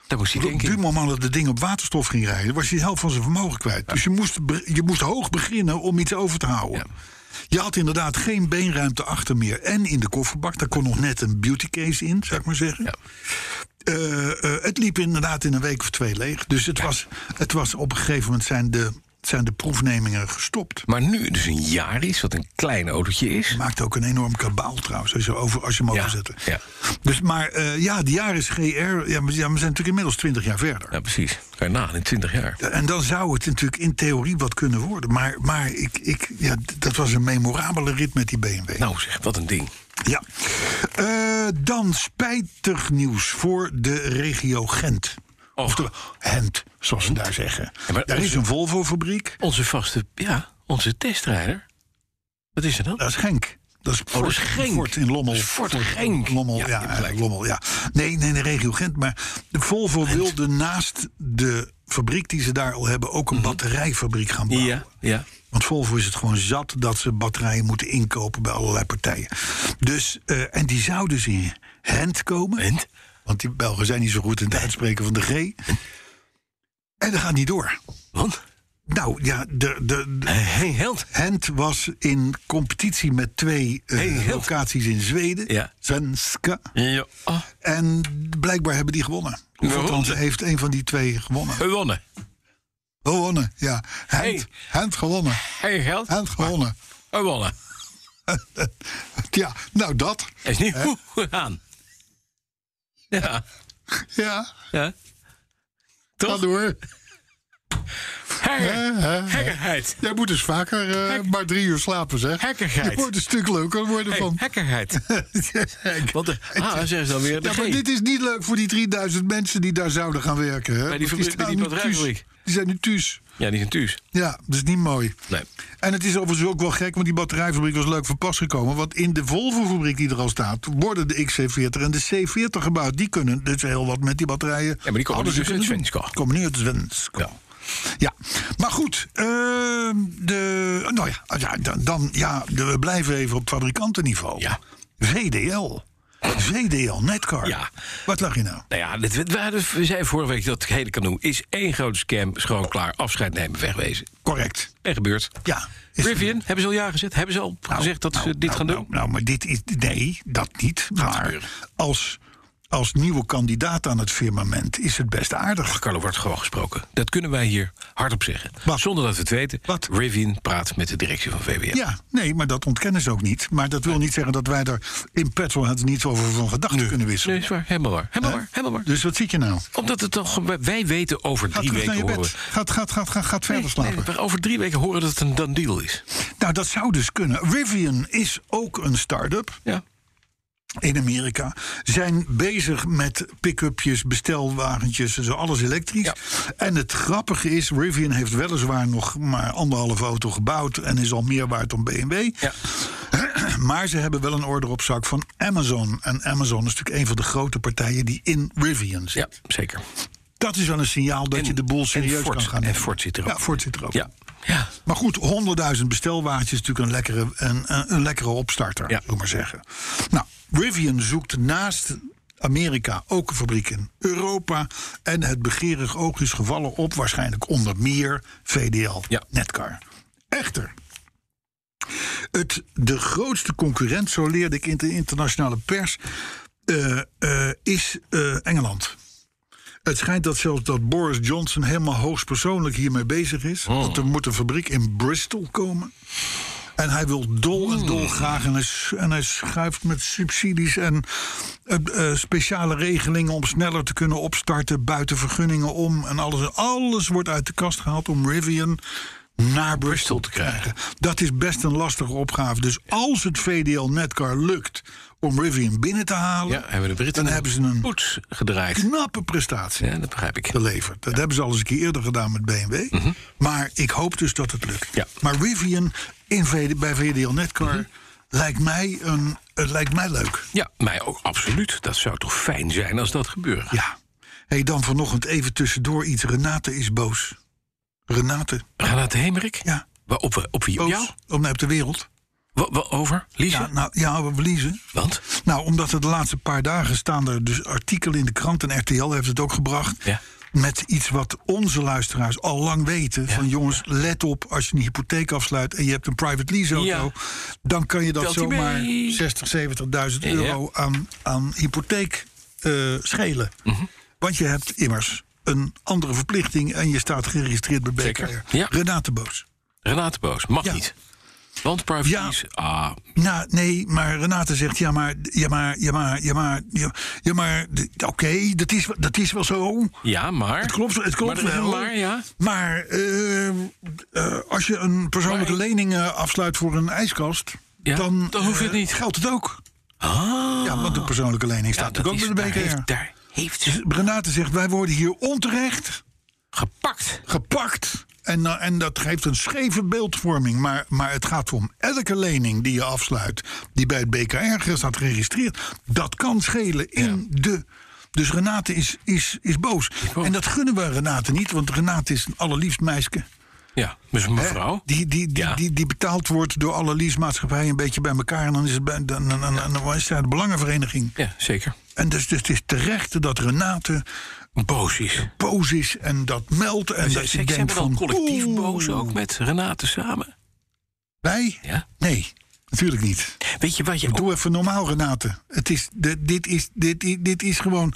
[SPEAKER 4] Daar moest hij
[SPEAKER 5] Want op
[SPEAKER 4] denken.
[SPEAKER 5] het moment dat het ding op waterstof ging rijden, was hij de helft van zijn vermogen kwijt. Dus je moest, be- je moest hoog beginnen om iets over te houden.
[SPEAKER 4] Ja.
[SPEAKER 5] Je had inderdaad geen beenruimte achter meer. En in de kofferbak, daar kon nog net een beauty case in, zou ik maar zeggen.
[SPEAKER 4] Ja.
[SPEAKER 5] Eh, eh, het liep inderdaad in een week of twee leeg. Dus het, was, het was op een gegeven moment zijn de, zijn de proefnemingen gestopt.
[SPEAKER 4] Maar nu dus een jaar is, wat een klein autootje is.
[SPEAKER 5] Maakt ook een enorm kabaal trouwens, als je, over, als je hem
[SPEAKER 4] Ja,
[SPEAKER 5] overzette.
[SPEAKER 4] ja.
[SPEAKER 5] Dus, maar eh, ja, die jaar is GR. Ja, we ja, we zijn natuurlijk inmiddels 20 jaar verder.
[SPEAKER 4] Ja, precies. Kan je nagaan, in 20 jaar.
[SPEAKER 5] En dan zou het natuurlijk in theorie wat kunnen worden. Maar, maar ik, ik, ja, d- dat was een memorabele rit met die BMW.
[SPEAKER 4] Nou zeg, wat een ding.
[SPEAKER 5] Ja. Eh, dan spijtig nieuws voor de regio Gent.
[SPEAKER 4] Och.
[SPEAKER 5] Oftewel, Gent, zoals ze daar zeggen.
[SPEAKER 4] Ja, maar
[SPEAKER 5] daar is
[SPEAKER 4] onze-
[SPEAKER 5] een Volvo-fabriek.
[SPEAKER 4] Onze vaste, ja, onze testrijder. Wat is er dan?
[SPEAKER 5] Dat is Genk. Dat is Fort,
[SPEAKER 4] Oh, is Genk.
[SPEAKER 5] Fort in Lommel.
[SPEAKER 4] Dat is Fort Genk.
[SPEAKER 5] Lommel,
[SPEAKER 4] Ja,
[SPEAKER 5] ja.
[SPEAKER 4] je hebt gelijk.
[SPEAKER 5] Lommel, ja. Nee, nee, de regio Gent. Maar de Volvo wilde naast de fabriek die ze daar al hebben... ook een batterijfabriek gaan bouwen.
[SPEAKER 4] Mhm. Eh, Ja, ja.
[SPEAKER 5] Want Volvo is het gewoon zat dat ze batterijen moeten inkopen bij allerlei partijen. Dus, eh, en die zou dus in Gent komen.
[SPEAKER 4] Gent?
[SPEAKER 5] Want die Belgen zijn niet zo goed in het uitspreken van de G. En dat gaat niet door.
[SPEAKER 4] Want?
[SPEAKER 5] Nou ja, de, de, de-
[SPEAKER 4] Hey, held.
[SPEAKER 5] Gent was in competitie met twee eh,
[SPEAKER 4] Hey, Gent.
[SPEAKER 5] locaties in Zweden.
[SPEAKER 4] Ja.
[SPEAKER 5] Svenska.
[SPEAKER 4] Ja. Ah,
[SPEAKER 5] En blijkbaar hebben die gewonnen. Of
[SPEAKER 4] Waarom?
[SPEAKER 5] althans heeft een van die twee gewonnen.
[SPEAKER 4] gewonnen.
[SPEAKER 5] Gewonnen, ja. Gent,
[SPEAKER 4] Hey.
[SPEAKER 5] Gent gewonnen.
[SPEAKER 4] Hey, held.
[SPEAKER 5] Gent gewonnen.
[SPEAKER 4] Gewonnen.
[SPEAKER 5] Ja, nou dat.
[SPEAKER 4] Hij is niet goed gegaan. Ja,
[SPEAKER 5] Ja,
[SPEAKER 4] ja.
[SPEAKER 5] ga
[SPEAKER 4] Toch?
[SPEAKER 5] door. Eh,
[SPEAKER 4] Hekker-
[SPEAKER 5] Hè, hè.
[SPEAKER 4] Hekkerheid.
[SPEAKER 5] Jij moet dus vaker eh,
[SPEAKER 4] Hek-
[SPEAKER 5] maar drie uur slapen, zeg.
[SPEAKER 4] Hekkigheid.
[SPEAKER 5] Je wordt een stuk leuker worden
[SPEAKER 4] Hey,
[SPEAKER 5] van.
[SPEAKER 4] hekkerheid.
[SPEAKER 6] Oh,
[SPEAKER 5] Hek.
[SPEAKER 4] Want de ah, dan zeggen ze dan weer de
[SPEAKER 5] Ja, maar
[SPEAKER 4] G.
[SPEAKER 5] dit is niet leuk voor die 3000 mensen die daar zouden gaan werken. Hè?
[SPEAKER 4] Bij die
[SPEAKER 5] Want
[SPEAKER 4] fabriek- bij die
[SPEAKER 5] staan nu thuis.
[SPEAKER 4] batterijfabriek.
[SPEAKER 5] Die zijn nu thuis.
[SPEAKER 4] Ja, die is een thuis.
[SPEAKER 5] Ja, dat is niet mooi.
[SPEAKER 4] Nee.
[SPEAKER 5] En het is overigens ook wel gek, want die batterijfabriek was leuk van pas gekomen. Want in de Volvo-fabriek die er al staat, worden de XC40 en de C40 gebouwd. Die kunnen dus heel wat met die batterijen.
[SPEAKER 4] maar die komen
[SPEAKER 5] Hadden
[SPEAKER 4] dus
[SPEAKER 5] ze
[SPEAKER 4] uit
[SPEAKER 5] kunnen doen.
[SPEAKER 4] Svenska.
[SPEAKER 5] Komen nu uit Svenska.
[SPEAKER 4] Ja.
[SPEAKER 5] Ja, maar goed. eh, de, nou ja, ja, dan, dan, ja de- we blijven even op fabrikantenniveau.
[SPEAKER 4] Ja.
[SPEAKER 5] VDL. VDL, Netcar.
[SPEAKER 4] Ja.
[SPEAKER 5] Wat lag je nou?
[SPEAKER 4] Nou ja, dit, we, hadden- we zeiden vorige week dat het hele kanoe is één grote scam. Schoon klaar, afscheid nemen, wegwezen.
[SPEAKER 5] Correct.
[SPEAKER 4] En gebeurt.
[SPEAKER 5] Ja. Is-
[SPEAKER 4] Rivian, hebben ze al ja gezet? Hebben ze al gezegd dat ze
[SPEAKER 5] Nou,
[SPEAKER 4] dit
[SPEAKER 5] nou,
[SPEAKER 4] gaan
[SPEAKER 5] nou,
[SPEAKER 4] doen?
[SPEAKER 5] Nou, maar dit is. Nee, dat niet. Maar
[SPEAKER 4] gebeuren.
[SPEAKER 5] als, als nieuwe kandidaat aan het firmament is het best aardig.
[SPEAKER 4] Carlo wordt gewoon gesproken. Dat kunnen wij hier hardop zeggen.
[SPEAKER 5] Wat?
[SPEAKER 4] Zonder dat we het weten.
[SPEAKER 5] Wat?
[SPEAKER 4] Rivian praat met de directie van VWM.
[SPEAKER 5] Ja, nee, maar dat ontkennen ze ook niet. Maar dat wil niet zeggen dat wij er in Petrolhead niet over van gedachten kunnen wisselen.
[SPEAKER 4] Nee, is waar. Helemaal waar. Helemaal
[SPEAKER 5] Hè?
[SPEAKER 4] waar. Helemaal waar.
[SPEAKER 5] Dus wat zit je nou?
[SPEAKER 4] Omdat het toch... Wij weten over
[SPEAKER 5] Ga
[SPEAKER 4] drie
[SPEAKER 5] terug naar
[SPEAKER 4] weken
[SPEAKER 5] je bed.
[SPEAKER 4] horen we...
[SPEAKER 5] Gaat, gaat, gaat, gaat, gaat verder
[SPEAKER 4] Nee,
[SPEAKER 5] slapen.
[SPEAKER 4] nee, we over drie weken horen dat het een done deal is.
[SPEAKER 5] Nou, dat zou dus kunnen. Rivian is ook een start-up
[SPEAKER 4] Ja.
[SPEAKER 5] in Amerika. Zijn bezig met pick-upjes, bestelwagentjes, en zo alles elektrisch.
[SPEAKER 4] Ja.
[SPEAKER 5] En het grappige is, Rivian heeft weliswaar nog maar anderhalve auto gebouwd... en is al meer waard dan BMW.
[SPEAKER 4] Ja.
[SPEAKER 5] Maar ze hebben wel een order op zak van Amazon. En Amazon is natuurlijk een van de grote partijen die in Rivian zit.
[SPEAKER 4] ja, zeker.
[SPEAKER 5] Dat is wel een signaal dat
[SPEAKER 4] En-
[SPEAKER 5] je de boel
[SPEAKER 4] en
[SPEAKER 5] serieus
[SPEAKER 4] Ford-
[SPEAKER 5] kan gaan
[SPEAKER 4] en
[SPEAKER 5] nemen.
[SPEAKER 4] Ford zit er ook
[SPEAKER 5] Ja, Ford zit er ook
[SPEAKER 4] Ja. ja.
[SPEAKER 5] maar goed, 100.000 bestelwaartjes is natuurlijk een lekkere, een, een, een lekkere opstarter,
[SPEAKER 4] Ja.
[SPEAKER 5] moet ik maar zeggen. Nou, Rivian zoekt naast Amerika ook een fabriek in Europa. En het begeerig oog is gevallen op waarschijnlijk onder meer VDL,
[SPEAKER 4] Ja.
[SPEAKER 5] Netcar. Echter, het, de grootste concurrent, zo leerde ik in de internationale pers, eh, eh, is eh, Engeland. Het schijnt dat zelfs dat Boris Johnson helemaal hoogstpersoonlijk hiermee bezig is.
[SPEAKER 4] Hmm.
[SPEAKER 5] Want er moet een fabriek in Bristol komen. En hij wil dol en
[SPEAKER 4] Hmm.
[SPEAKER 5] dol graag. En hij, s- en hij schuift met subsidies en eh, eh, speciale regelingen om sneller te kunnen opstarten. Buiten vergunningen om. En alles, alles wordt uit de kast gehaald om Rivian naar Bristol te krijgen. Dat is best een lastige opgave. Dus als het VDL Netcar lukt om Rivian binnen te halen.
[SPEAKER 4] ja, hebben de Britten
[SPEAKER 5] dan hebben ze een
[SPEAKER 4] poets gedraaid.
[SPEAKER 5] knappe prestatie
[SPEAKER 4] Ja, dat begrijp ik.
[SPEAKER 5] te leveren. Dat hebben ze al eens een keer eerder gedaan met BMW. Maar ik hoop dus dat het lukt.
[SPEAKER 4] Ja.
[SPEAKER 5] Maar Rivian in VD, bij VDL Netcar lijkt, mij een, het lijkt mij leuk.
[SPEAKER 4] Ja, mij ook absoluut. Dat zou toch fijn zijn als dat gebeurt.
[SPEAKER 5] Ja. Hey, dan vanochtend even tussendoor iets. Renate is boos. Renate,
[SPEAKER 4] Renate Hemerik?
[SPEAKER 5] ja.
[SPEAKER 4] Waar- Op, op wie? Op
[SPEAKER 5] Boos.
[SPEAKER 4] jou?
[SPEAKER 5] Om nee, op de wereld.
[SPEAKER 4] Wa- wa- over? Lisa?
[SPEAKER 5] Ja, nou, ja, we verliezen.
[SPEAKER 4] Want?
[SPEAKER 5] Nou, omdat er de laatste paar dagen staan er dus artikelen in de krant. En RTL heeft het ook gebracht.
[SPEAKER 4] Ja.
[SPEAKER 5] Met iets wat onze luisteraars al lang weten. Van jongens, let op als je een hypotheek afsluit en je hebt een private lease auto.
[SPEAKER 4] Ja.
[SPEAKER 5] Dan kan je dat
[SPEAKER 4] Telt die
[SPEAKER 5] zomaar
[SPEAKER 4] mee?
[SPEAKER 5] 60, 70.000 euro aan, aan hypotheek eh, schelen.
[SPEAKER 4] Mhm.
[SPEAKER 5] Want je hebt immers een andere verplichting en je staat geregistreerd bij BKR.
[SPEAKER 4] Zeker, ja.
[SPEAKER 5] Renate Boos.
[SPEAKER 4] Renate Boos. Mag
[SPEAKER 5] Ja.
[SPEAKER 4] niet. Want private
[SPEAKER 5] Ja.
[SPEAKER 4] lease, Ah,
[SPEAKER 5] Nou, nee, maar Renate zegt, ja, maar, ja, maar, ja, maar, ja, maar, ja, ja, maar, d- oké, dat, is, wel- dat is wel zo.
[SPEAKER 4] ja, maar...
[SPEAKER 5] Het klopt, het klopt
[SPEAKER 4] maar,
[SPEAKER 5] wel.
[SPEAKER 4] Maar, ja.
[SPEAKER 5] Maar eh, eh, als je een persoonlijke
[SPEAKER 4] Maar-
[SPEAKER 5] lening eh, afsluit voor een ijskast,
[SPEAKER 4] Ja,
[SPEAKER 5] dan,
[SPEAKER 4] dan hoeft het
[SPEAKER 5] eh,
[SPEAKER 4] niet.
[SPEAKER 5] geldt het ook.
[SPEAKER 4] Ah.
[SPEAKER 5] Ja, want de persoonlijke lening staat
[SPEAKER 4] dat
[SPEAKER 5] natuurlijk
[SPEAKER 4] is-
[SPEAKER 5] ook bij de
[SPEAKER 4] Daar
[SPEAKER 5] BKR.
[SPEAKER 4] heeft, daar heeft ze
[SPEAKER 5] Renate zegt, wij worden hier onterecht
[SPEAKER 4] gepakt.
[SPEAKER 5] gepakt. En, nou, en dat geeft een scheve beeldvorming. Maar, maar het gaat om elke lening die je afsluit. die bij het BKR staat geregistreerd. dat kan schelen in de. Dus Renate is, is, is boos. En dat gunnen we Renate niet, want Renate is een allerliefst meisje.
[SPEAKER 4] Ja, dus
[SPEAKER 5] hè,
[SPEAKER 4] mevrouw.
[SPEAKER 5] Die, die, die,
[SPEAKER 4] Ja.
[SPEAKER 5] die, die betaald wordt door alle leasemaatschappijen een beetje bij elkaar. En dan is het bij, dan, dan, dan, dan is het de Belangenvereniging.
[SPEAKER 4] Ja, zeker.
[SPEAKER 5] En dus, dus het is terecht dat Renate
[SPEAKER 4] Boos is.
[SPEAKER 5] boos is en dat meldt. En
[SPEAKER 4] Ze-
[SPEAKER 5] dat je
[SPEAKER 4] Ze zijn
[SPEAKER 5] denkt
[SPEAKER 4] we dan
[SPEAKER 5] van.
[SPEAKER 4] collectief
[SPEAKER 5] oeh,
[SPEAKER 4] boos ook met Renate samen?
[SPEAKER 5] Wij?
[SPEAKER 4] Ja.
[SPEAKER 5] Nee, natuurlijk niet.
[SPEAKER 4] Weet je wat je ook...
[SPEAKER 5] Doe even normaal, Renate. Het is, de- dit, is, dit, i- dit is gewoon.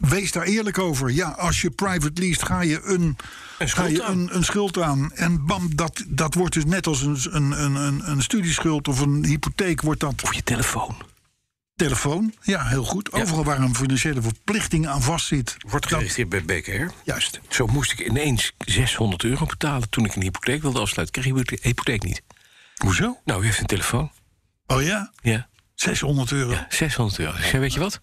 [SPEAKER 5] Wees daar eerlijk over. Ja, als je private leest, ga je een,
[SPEAKER 4] Een
[SPEAKER 5] ga
[SPEAKER 4] schuld
[SPEAKER 5] je
[SPEAKER 4] aan.
[SPEAKER 5] een, een schuld aan. En bam, dat, dat wordt dus net als een, een, een, een, een studieschuld of een hypotheek, wordt dat
[SPEAKER 4] Op je telefoon.
[SPEAKER 5] telefoon. Ja, heel goed. Overal waar een financiële verplichting aan vastzit.
[SPEAKER 4] Wordt
[SPEAKER 5] dat-
[SPEAKER 4] geregistreerd bij BKR.
[SPEAKER 5] Juist.
[SPEAKER 4] Zo moest ik ineens 600 euro betalen toen ik een hypotheek wilde afsluiten. Kreeg ik de hypotheek niet.
[SPEAKER 5] Hoezo?
[SPEAKER 4] Nou, u heeft een telefoon.
[SPEAKER 5] Oh ja,
[SPEAKER 4] Ja,
[SPEAKER 5] 600 euro.
[SPEAKER 4] ja 600 euro. Ik zei, weet je wat?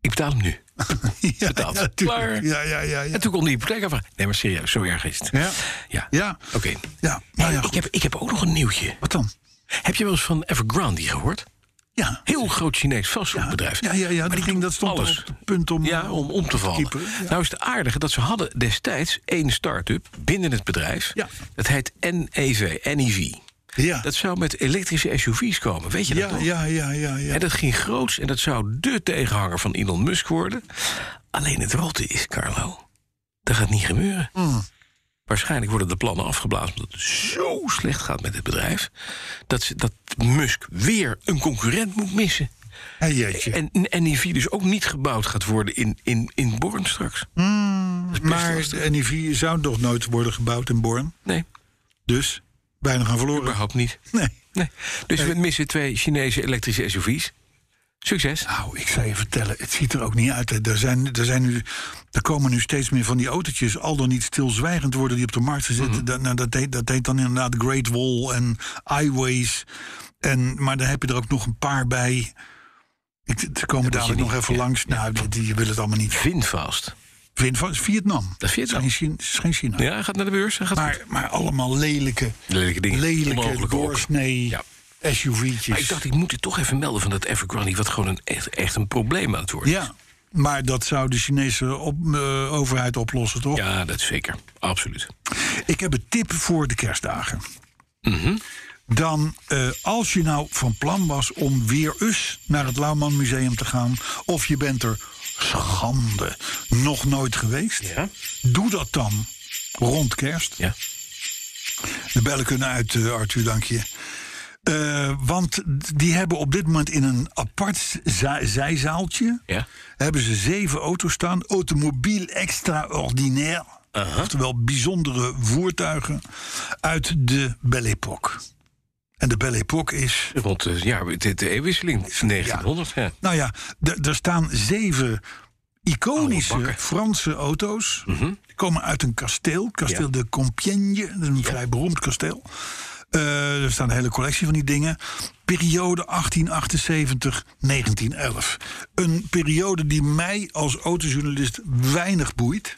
[SPEAKER 4] Ik betaal hem nu.
[SPEAKER 5] Ja,
[SPEAKER 4] betaald.
[SPEAKER 5] ja,
[SPEAKER 4] Klaar.
[SPEAKER 5] tuurlijk. ja, ja, ja. ja.
[SPEAKER 4] En toen kon de hypotheek afvragen. Nee, maar serieus, zo erg is het.
[SPEAKER 5] Ja.
[SPEAKER 4] Ja.
[SPEAKER 5] Ja.
[SPEAKER 4] Oké.
[SPEAKER 5] Ja, nou ja,
[SPEAKER 4] ik,
[SPEAKER 5] goed.
[SPEAKER 4] heb, ik heb ook nog een nieuwtje.
[SPEAKER 5] Wat dan?
[SPEAKER 4] Heb je wel eens van Evergrande gehoord?
[SPEAKER 5] Ja.
[SPEAKER 4] Heel groot Chinees vastgoedbedrijf.
[SPEAKER 5] Ja, ja, ja, dat
[SPEAKER 4] die
[SPEAKER 5] ding
[SPEAKER 4] doen
[SPEAKER 5] dat stond
[SPEAKER 4] alles.
[SPEAKER 5] op het punt om,
[SPEAKER 4] ja,
[SPEAKER 5] eh,
[SPEAKER 4] om om te vallen.
[SPEAKER 5] kiepen, ja.
[SPEAKER 4] Nou is het aardige dat ze hadden destijds één start-up binnen het bedrijf.
[SPEAKER 5] Ja.
[SPEAKER 4] Dat heet E NEV. NEV.
[SPEAKER 5] Ja.
[SPEAKER 4] Dat zou met elektrische SUV's komen. Weet je dat
[SPEAKER 5] Ja,
[SPEAKER 4] nog?
[SPEAKER 5] ja, ja, ja, ja.
[SPEAKER 4] En dat ging groots en dat zou dé tegenhanger van Elon Musk worden. Alleen het rotte is, Carlo, dat gaat niet gebeuren. Waarschijnlijk worden de plannen afgeblazen omdat het zo slecht gaat met het bedrijf... dat, ze, dat Musk weer een concurrent moet missen.
[SPEAKER 5] Hey, jeetje.
[SPEAKER 4] En, en NIV dus ook niet gebouwd gaat worden in, in, in Born straks.
[SPEAKER 5] maar de NIV zou toch nooit worden gebouwd in Born.
[SPEAKER 4] Nee,
[SPEAKER 5] Dus bijna gaan verloren.
[SPEAKER 4] überhaupt niet.
[SPEAKER 5] Nee.
[SPEAKER 4] Nee. Dus we missen twee Chinese elektrische SUV's. Succes.
[SPEAKER 5] Nou, ik zou je vertellen, het ziet er ook niet uit. hè. Er, zijn, er, zijn nu, er komen nu steeds meer van die autootjes, al dan niet stilzwijgend worden, die op de markt zitten. dat, nou, dat, heet, dat heet dan inderdaad Great Wall en Highways. En, maar dan heb je er ook nog een paar bij. Ik, ze komen
[SPEAKER 4] moet je
[SPEAKER 5] dadelijk nog
[SPEAKER 4] niet,
[SPEAKER 5] even
[SPEAKER 4] ja,
[SPEAKER 5] langs. Nou, die, die willen het allemaal niet.
[SPEAKER 4] Vindvast.
[SPEAKER 5] Vind van Vietnam.
[SPEAKER 4] Dat is Vietnam.
[SPEAKER 5] Het is geen China. is geen China.
[SPEAKER 4] Ja, hij gaat naar de beurs. Hij gaat
[SPEAKER 5] Maar, maar allemaal lelijke,
[SPEAKER 4] Lelijke dingen.
[SPEAKER 5] lelijke
[SPEAKER 4] Onmogelijke hokken.
[SPEAKER 5] doorsnee
[SPEAKER 4] Ja.
[SPEAKER 5] SUV'tjes.
[SPEAKER 4] Maar ik dacht, ik moet het toch even melden van dat Evergrande... wat gewoon een, echt, echt een probleem aan het worden is.
[SPEAKER 5] Ja, maar dat zou de Chinese op, eh, overheid oplossen, toch?
[SPEAKER 4] Ja, dat is zeker. Absoluut.
[SPEAKER 5] Ik heb een tip voor de kerstdagen.
[SPEAKER 4] Mhm.
[SPEAKER 5] Dan, eh, als je nou van plan was om weer eens naar het Lauwman Museum te gaan... of je bent er schande nog nooit geweest...
[SPEAKER 4] Ja.
[SPEAKER 5] doe dat dan rond kerst.
[SPEAKER 4] Ja.
[SPEAKER 5] De bellen kunnen uit, eh, Arthur, dank je. Eh, want die hebben op dit moment in een apart za- zijzaaltje...
[SPEAKER 4] Ja.
[SPEAKER 5] hebben ze zeven auto's staan. Automobiel extraordinaire. Oftewel bijzondere voertuigen uit de Belle Époque. En de Belle Époque is...
[SPEAKER 4] Want eh, ja, de, de eeuwwisseling, 1900. Ja.
[SPEAKER 5] Nou ja, d- er staan zeven
[SPEAKER 4] Oude
[SPEAKER 5] iconische
[SPEAKER 4] bakken. Mhm.
[SPEAKER 5] Franse auto's. Die komen uit een kasteel, kasteel
[SPEAKER 4] Ja.
[SPEAKER 5] de Compiègne. Dat is een vrij beroemd kasteel. Eh, er staat een hele collectie van die dingen. Periode 1878-1911. Een periode die mij als autojournalist weinig boeit.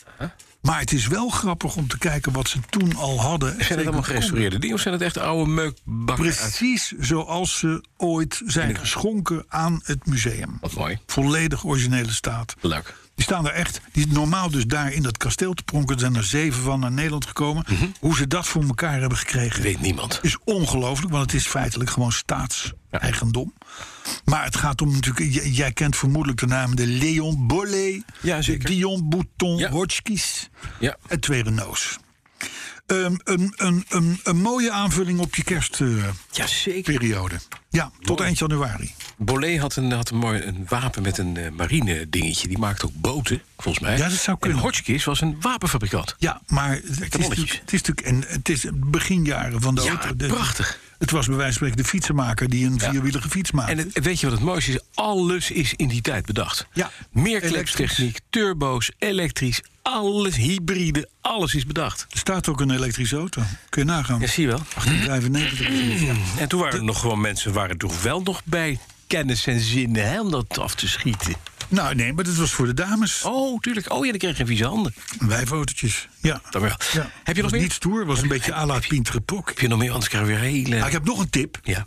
[SPEAKER 5] Maar het is wel grappig om te kijken wat ze toen al hadden.
[SPEAKER 4] Zijn
[SPEAKER 5] Zeker
[SPEAKER 4] het allemaal gerestaureerde dingen of zijn het echt oude meukbakken? uit-
[SPEAKER 5] Precies zoals ze ooit zijn geschonken aan het museum.
[SPEAKER 4] Wat mooi.
[SPEAKER 5] Volledig originele staat.
[SPEAKER 4] Leuk.
[SPEAKER 5] Die staan er echt, die normaal dus daar in dat kasteel te pronken. Er zijn er zeven van naar Nederland gekomen. Hoe ze dat voor elkaar hebben gekregen
[SPEAKER 4] Mhm. Weet niemand.
[SPEAKER 5] is ongelooflijk, want het is feitelijk gewoon staatseigendom. Maar het gaat om natuurlijk, j- jij kent vermoedelijk de namen de Leon Bollet,
[SPEAKER 4] Ja,
[SPEAKER 5] de
[SPEAKER 4] zeker.
[SPEAKER 5] Dion Bouton
[SPEAKER 4] Ja.
[SPEAKER 5] Hotchkiss
[SPEAKER 4] Ja.
[SPEAKER 5] en twee Renaults. Ehm, een, een, een, een mooie aanvulling op je kerstperiode.
[SPEAKER 4] Ja, zeker.
[SPEAKER 5] ja, tot eind januari.
[SPEAKER 4] Bollet had een, had een mooi een wapen met een eh, marine dingetje. Die maakte ook boten, volgens mij.
[SPEAKER 5] Ja, dat zou kunnen.
[SPEAKER 4] En Hotchkiss was een wapenfabrikant.
[SPEAKER 5] Ja, maar het is, natuurlijk,
[SPEAKER 4] balletjes.
[SPEAKER 5] het is natuurlijk en het is beginjaren van de
[SPEAKER 4] Ja,
[SPEAKER 5] auto. De-
[SPEAKER 4] prachtig.
[SPEAKER 5] Het was bij wijze van spreken de fietsenmaker die een vierwielige fiets maakte.
[SPEAKER 4] En het- weet je wat het mooiste is? Alles is in die tijd bedacht.
[SPEAKER 5] Ja.
[SPEAKER 4] Meer klepstechniek, turbo's, elektrisch, alles, hybride, alles is bedacht.
[SPEAKER 5] er staat ook een elektrische auto. Kun je nagaan. Hm?
[SPEAKER 4] Ja, zie je Hm. wel.
[SPEAKER 5] 1895. is het, ja.
[SPEAKER 4] En toen waren er nog gewoon mensen, waren er toch wel nog bij kennis en zinnen hè, om dat af te schieten.
[SPEAKER 5] Nou, nee, maar dat was voor de dames.
[SPEAKER 4] Oh, tuurlijk. Oh ja, dan kreeg je geen vieze handen.
[SPEAKER 5] Wijfotootjes. Ja.
[SPEAKER 4] Dan wel.
[SPEAKER 5] ja.
[SPEAKER 4] Oh. Heb, je nog
[SPEAKER 5] was
[SPEAKER 4] meer?
[SPEAKER 5] niet stoer, was een beetje à la Pintere Pok.
[SPEAKER 4] heb je nog meer? Anders krijgen we weer hele...
[SPEAKER 5] Maar Ah, ik heb nog een tip.
[SPEAKER 4] Ja.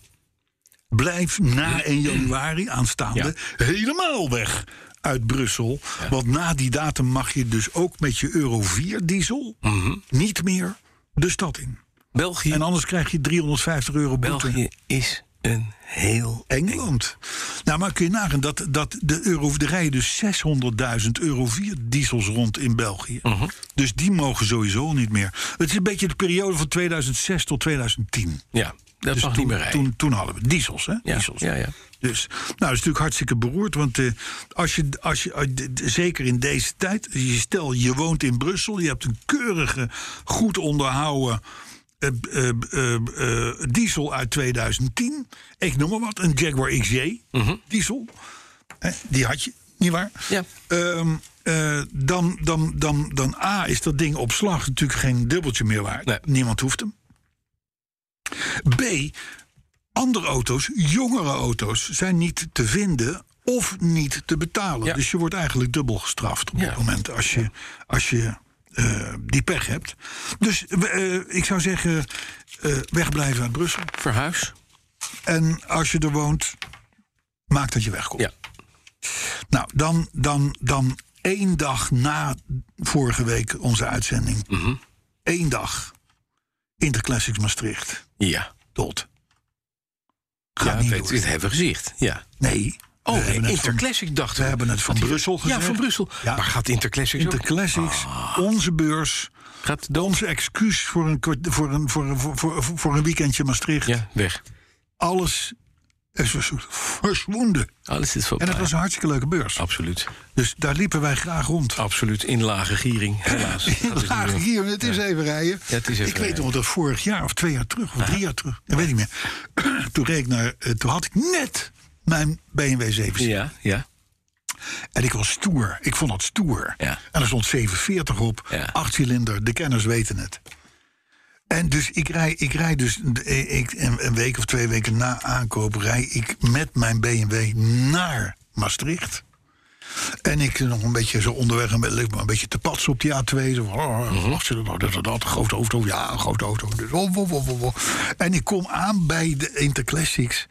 [SPEAKER 5] Blijf na 1 januari aanstaande
[SPEAKER 4] Hm. Ja.
[SPEAKER 5] helemaal weg uit Brussel. Want na die datum mag je dus ook met je Euro 4 diesel
[SPEAKER 4] Mhm.
[SPEAKER 5] niet meer de stad in.
[SPEAKER 4] België,
[SPEAKER 5] En anders krijg je 350 euro boete.
[SPEAKER 4] België is een heel...
[SPEAKER 5] Engeland. Nou, maar kun je nagaan dat, dat de euro, er rijden dus 600.000 euro 4 diesels rond in België.
[SPEAKER 4] Mhm.
[SPEAKER 5] Dus die mogen sowieso niet meer. Het is een beetje de periode van 2006 tot 2010.
[SPEAKER 4] Ja, dat
[SPEAKER 5] Dus
[SPEAKER 4] mag
[SPEAKER 5] toen,
[SPEAKER 4] niet meer rijden.
[SPEAKER 5] toen, toen hadden we diesels, hè?
[SPEAKER 4] ja,
[SPEAKER 5] diesels.
[SPEAKER 4] ja, ja.
[SPEAKER 5] Dus, nou, dat is natuurlijk hartstikke beroerd. Want eh, als je, als je, als je- d- zeker in deze tijd, je stel je woont in Brussel, je hebt een keurige, goed onderhouden eh, eh, eh, eh, diesel uit 2010. Ik noem maar wat, een Jaguar XJ diesel. Hè, die had je, nietwaar?
[SPEAKER 4] Mhm. Ja.
[SPEAKER 5] Ehm, eh, dan, dan, dan, dan A, is dat ding op slag natuurlijk geen dubbeltje meer waard.
[SPEAKER 4] Nee.
[SPEAKER 5] Niemand hoeft hem. B, andere auto's, jongere auto's, zijn niet te vinden of niet te betalen.
[SPEAKER 4] Ja.
[SPEAKER 5] Dus je wordt eigenlijk dubbel gestraft op
[SPEAKER 4] Ja.
[SPEAKER 5] het moment als je, als je eh, die pech hebt. Dus eh, ik zou zeggen, eh, wegblijven uit Brussel.
[SPEAKER 4] Verhuis.
[SPEAKER 5] En als je er woont, Maak dat je wegkomt.
[SPEAKER 4] Ja.
[SPEAKER 5] Nou, dan, dan, dan één dag na vorige week onze uitzending.
[SPEAKER 4] Mhm.
[SPEAKER 5] Eén dag. Interclassics Maastricht.
[SPEAKER 4] Ja.
[SPEAKER 5] Tot. Gaat
[SPEAKER 4] Ja,
[SPEAKER 5] niet
[SPEAKER 4] weet,
[SPEAKER 5] door.
[SPEAKER 4] dit hebben we gezegd. Ja.
[SPEAKER 5] Nee. we
[SPEAKER 4] Oh,
[SPEAKER 5] hebben het van-
[SPEAKER 4] Interclassics dachten
[SPEAKER 5] we hebben het van
[SPEAKER 4] Dat hier-
[SPEAKER 5] Brussel gezegd.
[SPEAKER 4] Ja, van Brussel.
[SPEAKER 5] Ja.
[SPEAKER 4] Maar gaat Interclassics ook?
[SPEAKER 5] Interclassics,
[SPEAKER 4] Ah.
[SPEAKER 5] onze beurs.
[SPEAKER 4] Gaat de
[SPEAKER 5] Onze excuus voor een, kwart- voor een, voor een, voor, voor, voor een weekendje Maastricht.
[SPEAKER 4] Ja, weg.
[SPEAKER 5] Alles is vers- verslonden.
[SPEAKER 4] Alles
[SPEAKER 5] En het
[SPEAKER 4] is
[SPEAKER 5] was
[SPEAKER 4] voorbij.
[SPEAKER 5] een hartstikke leuke beurs.
[SPEAKER 4] Absoluut.
[SPEAKER 5] Dus daar liepen wij graag rond.
[SPEAKER 4] Absoluut. In lage giering, helaas. Oh, Dat is niet
[SPEAKER 5] Laag
[SPEAKER 4] meer.
[SPEAKER 5] hier, het is even rijden.
[SPEAKER 4] Ja, het is even
[SPEAKER 5] ik weet
[SPEAKER 4] rijden.
[SPEAKER 5] nog dat vorig jaar, of twee jaar terug, of drie jaar terug, dat weet ik niet meer. toen reed ik naar, eh, toen had ik net mijn BMW 7
[SPEAKER 4] Ja, ja.
[SPEAKER 5] En ik was stoer. Ik vond dat stoer.
[SPEAKER 4] Ja.
[SPEAKER 5] En er stond 740 op,
[SPEAKER 4] Ja.
[SPEAKER 5] 8 cilinder, de kenners weten het. En dus ik rij, ik rij dus eh, ik, een een week of twee weken na aankoop... rij ik met mijn BMW naar Maastricht. En ik nog een beetje zo onderweg een beetje, een beetje te patsen op die A2. Zo van, oh,
[SPEAKER 4] Mhm.
[SPEAKER 5] wacht, dat, dat, dat, grote auto, ja, een grote auto. Dus, oh, oh, oh, oh, oh. En ik kom aan bij de Interclassics.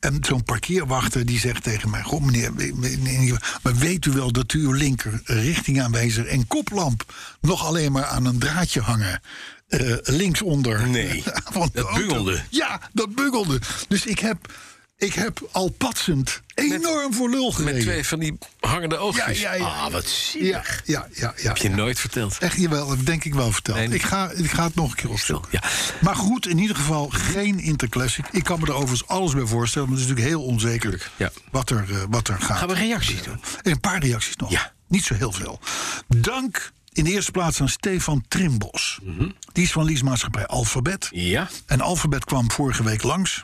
[SPEAKER 5] En zo'n parkeerwachter die zegt tegen mij... Goh, meneer, meneer, maar weet u wel dat u uw linker richtingaanwijzer en koplamp... nog alleen maar aan een draadje hangen... eh, linksonder.
[SPEAKER 4] Nee,
[SPEAKER 5] van de
[SPEAKER 4] dat
[SPEAKER 5] auto?"
[SPEAKER 4] bungelde.
[SPEAKER 5] Ja, dat bungelde. Dus ik heb, ik heb al patsend enorm voor lul gereden.
[SPEAKER 4] Met twee van die hangende oogjes.
[SPEAKER 5] Ja, ja, ja.
[SPEAKER 4] Ah, wat
[SPEAKER 5] Ja,
[SPEAKER 4] zielig.
[SPEAKER 5] ja, ja. ja.
[SPEAKER 4] Heb je nooit verteld.
[SPEAKER 5] Echt jawel, denk ik wel verteld.
[SPEAKER 4] Nee, niet.
[SPEAKER 5] ik, ga, ik ga het nog een keer
[SPEAKER 4] Stil,
[SPEAKER 5] opzoeken.
[SPEAKER 4] ja.
[SPEAKER 5] Maar goed, in ieder geval geen Interclassic. Ik kan me er overigens alles bij voorstellen, maar het is natuurlijk heel onzeker
[SPEAKER 4] ja.
[SPEAKER 5] wat, er, eh, wat er gaat.
[SPEAKER 4] Gaan we reacties doen?
[SPEAKER 5] En een paar reacties nog.
[SPEAKER 4] Ja.
[SPEAKER 5] Niet zo heel veel. Dank in de eerste plaats aan Stefan Trimbos.
[SPEAKER 4] Mhm.
[SPEAKER 5] Die is van leasemaatschappij Alphabet.
[SPEAKER 4] Ja.
[SPEAKER 5] En Alphabet kwam vorige week langs.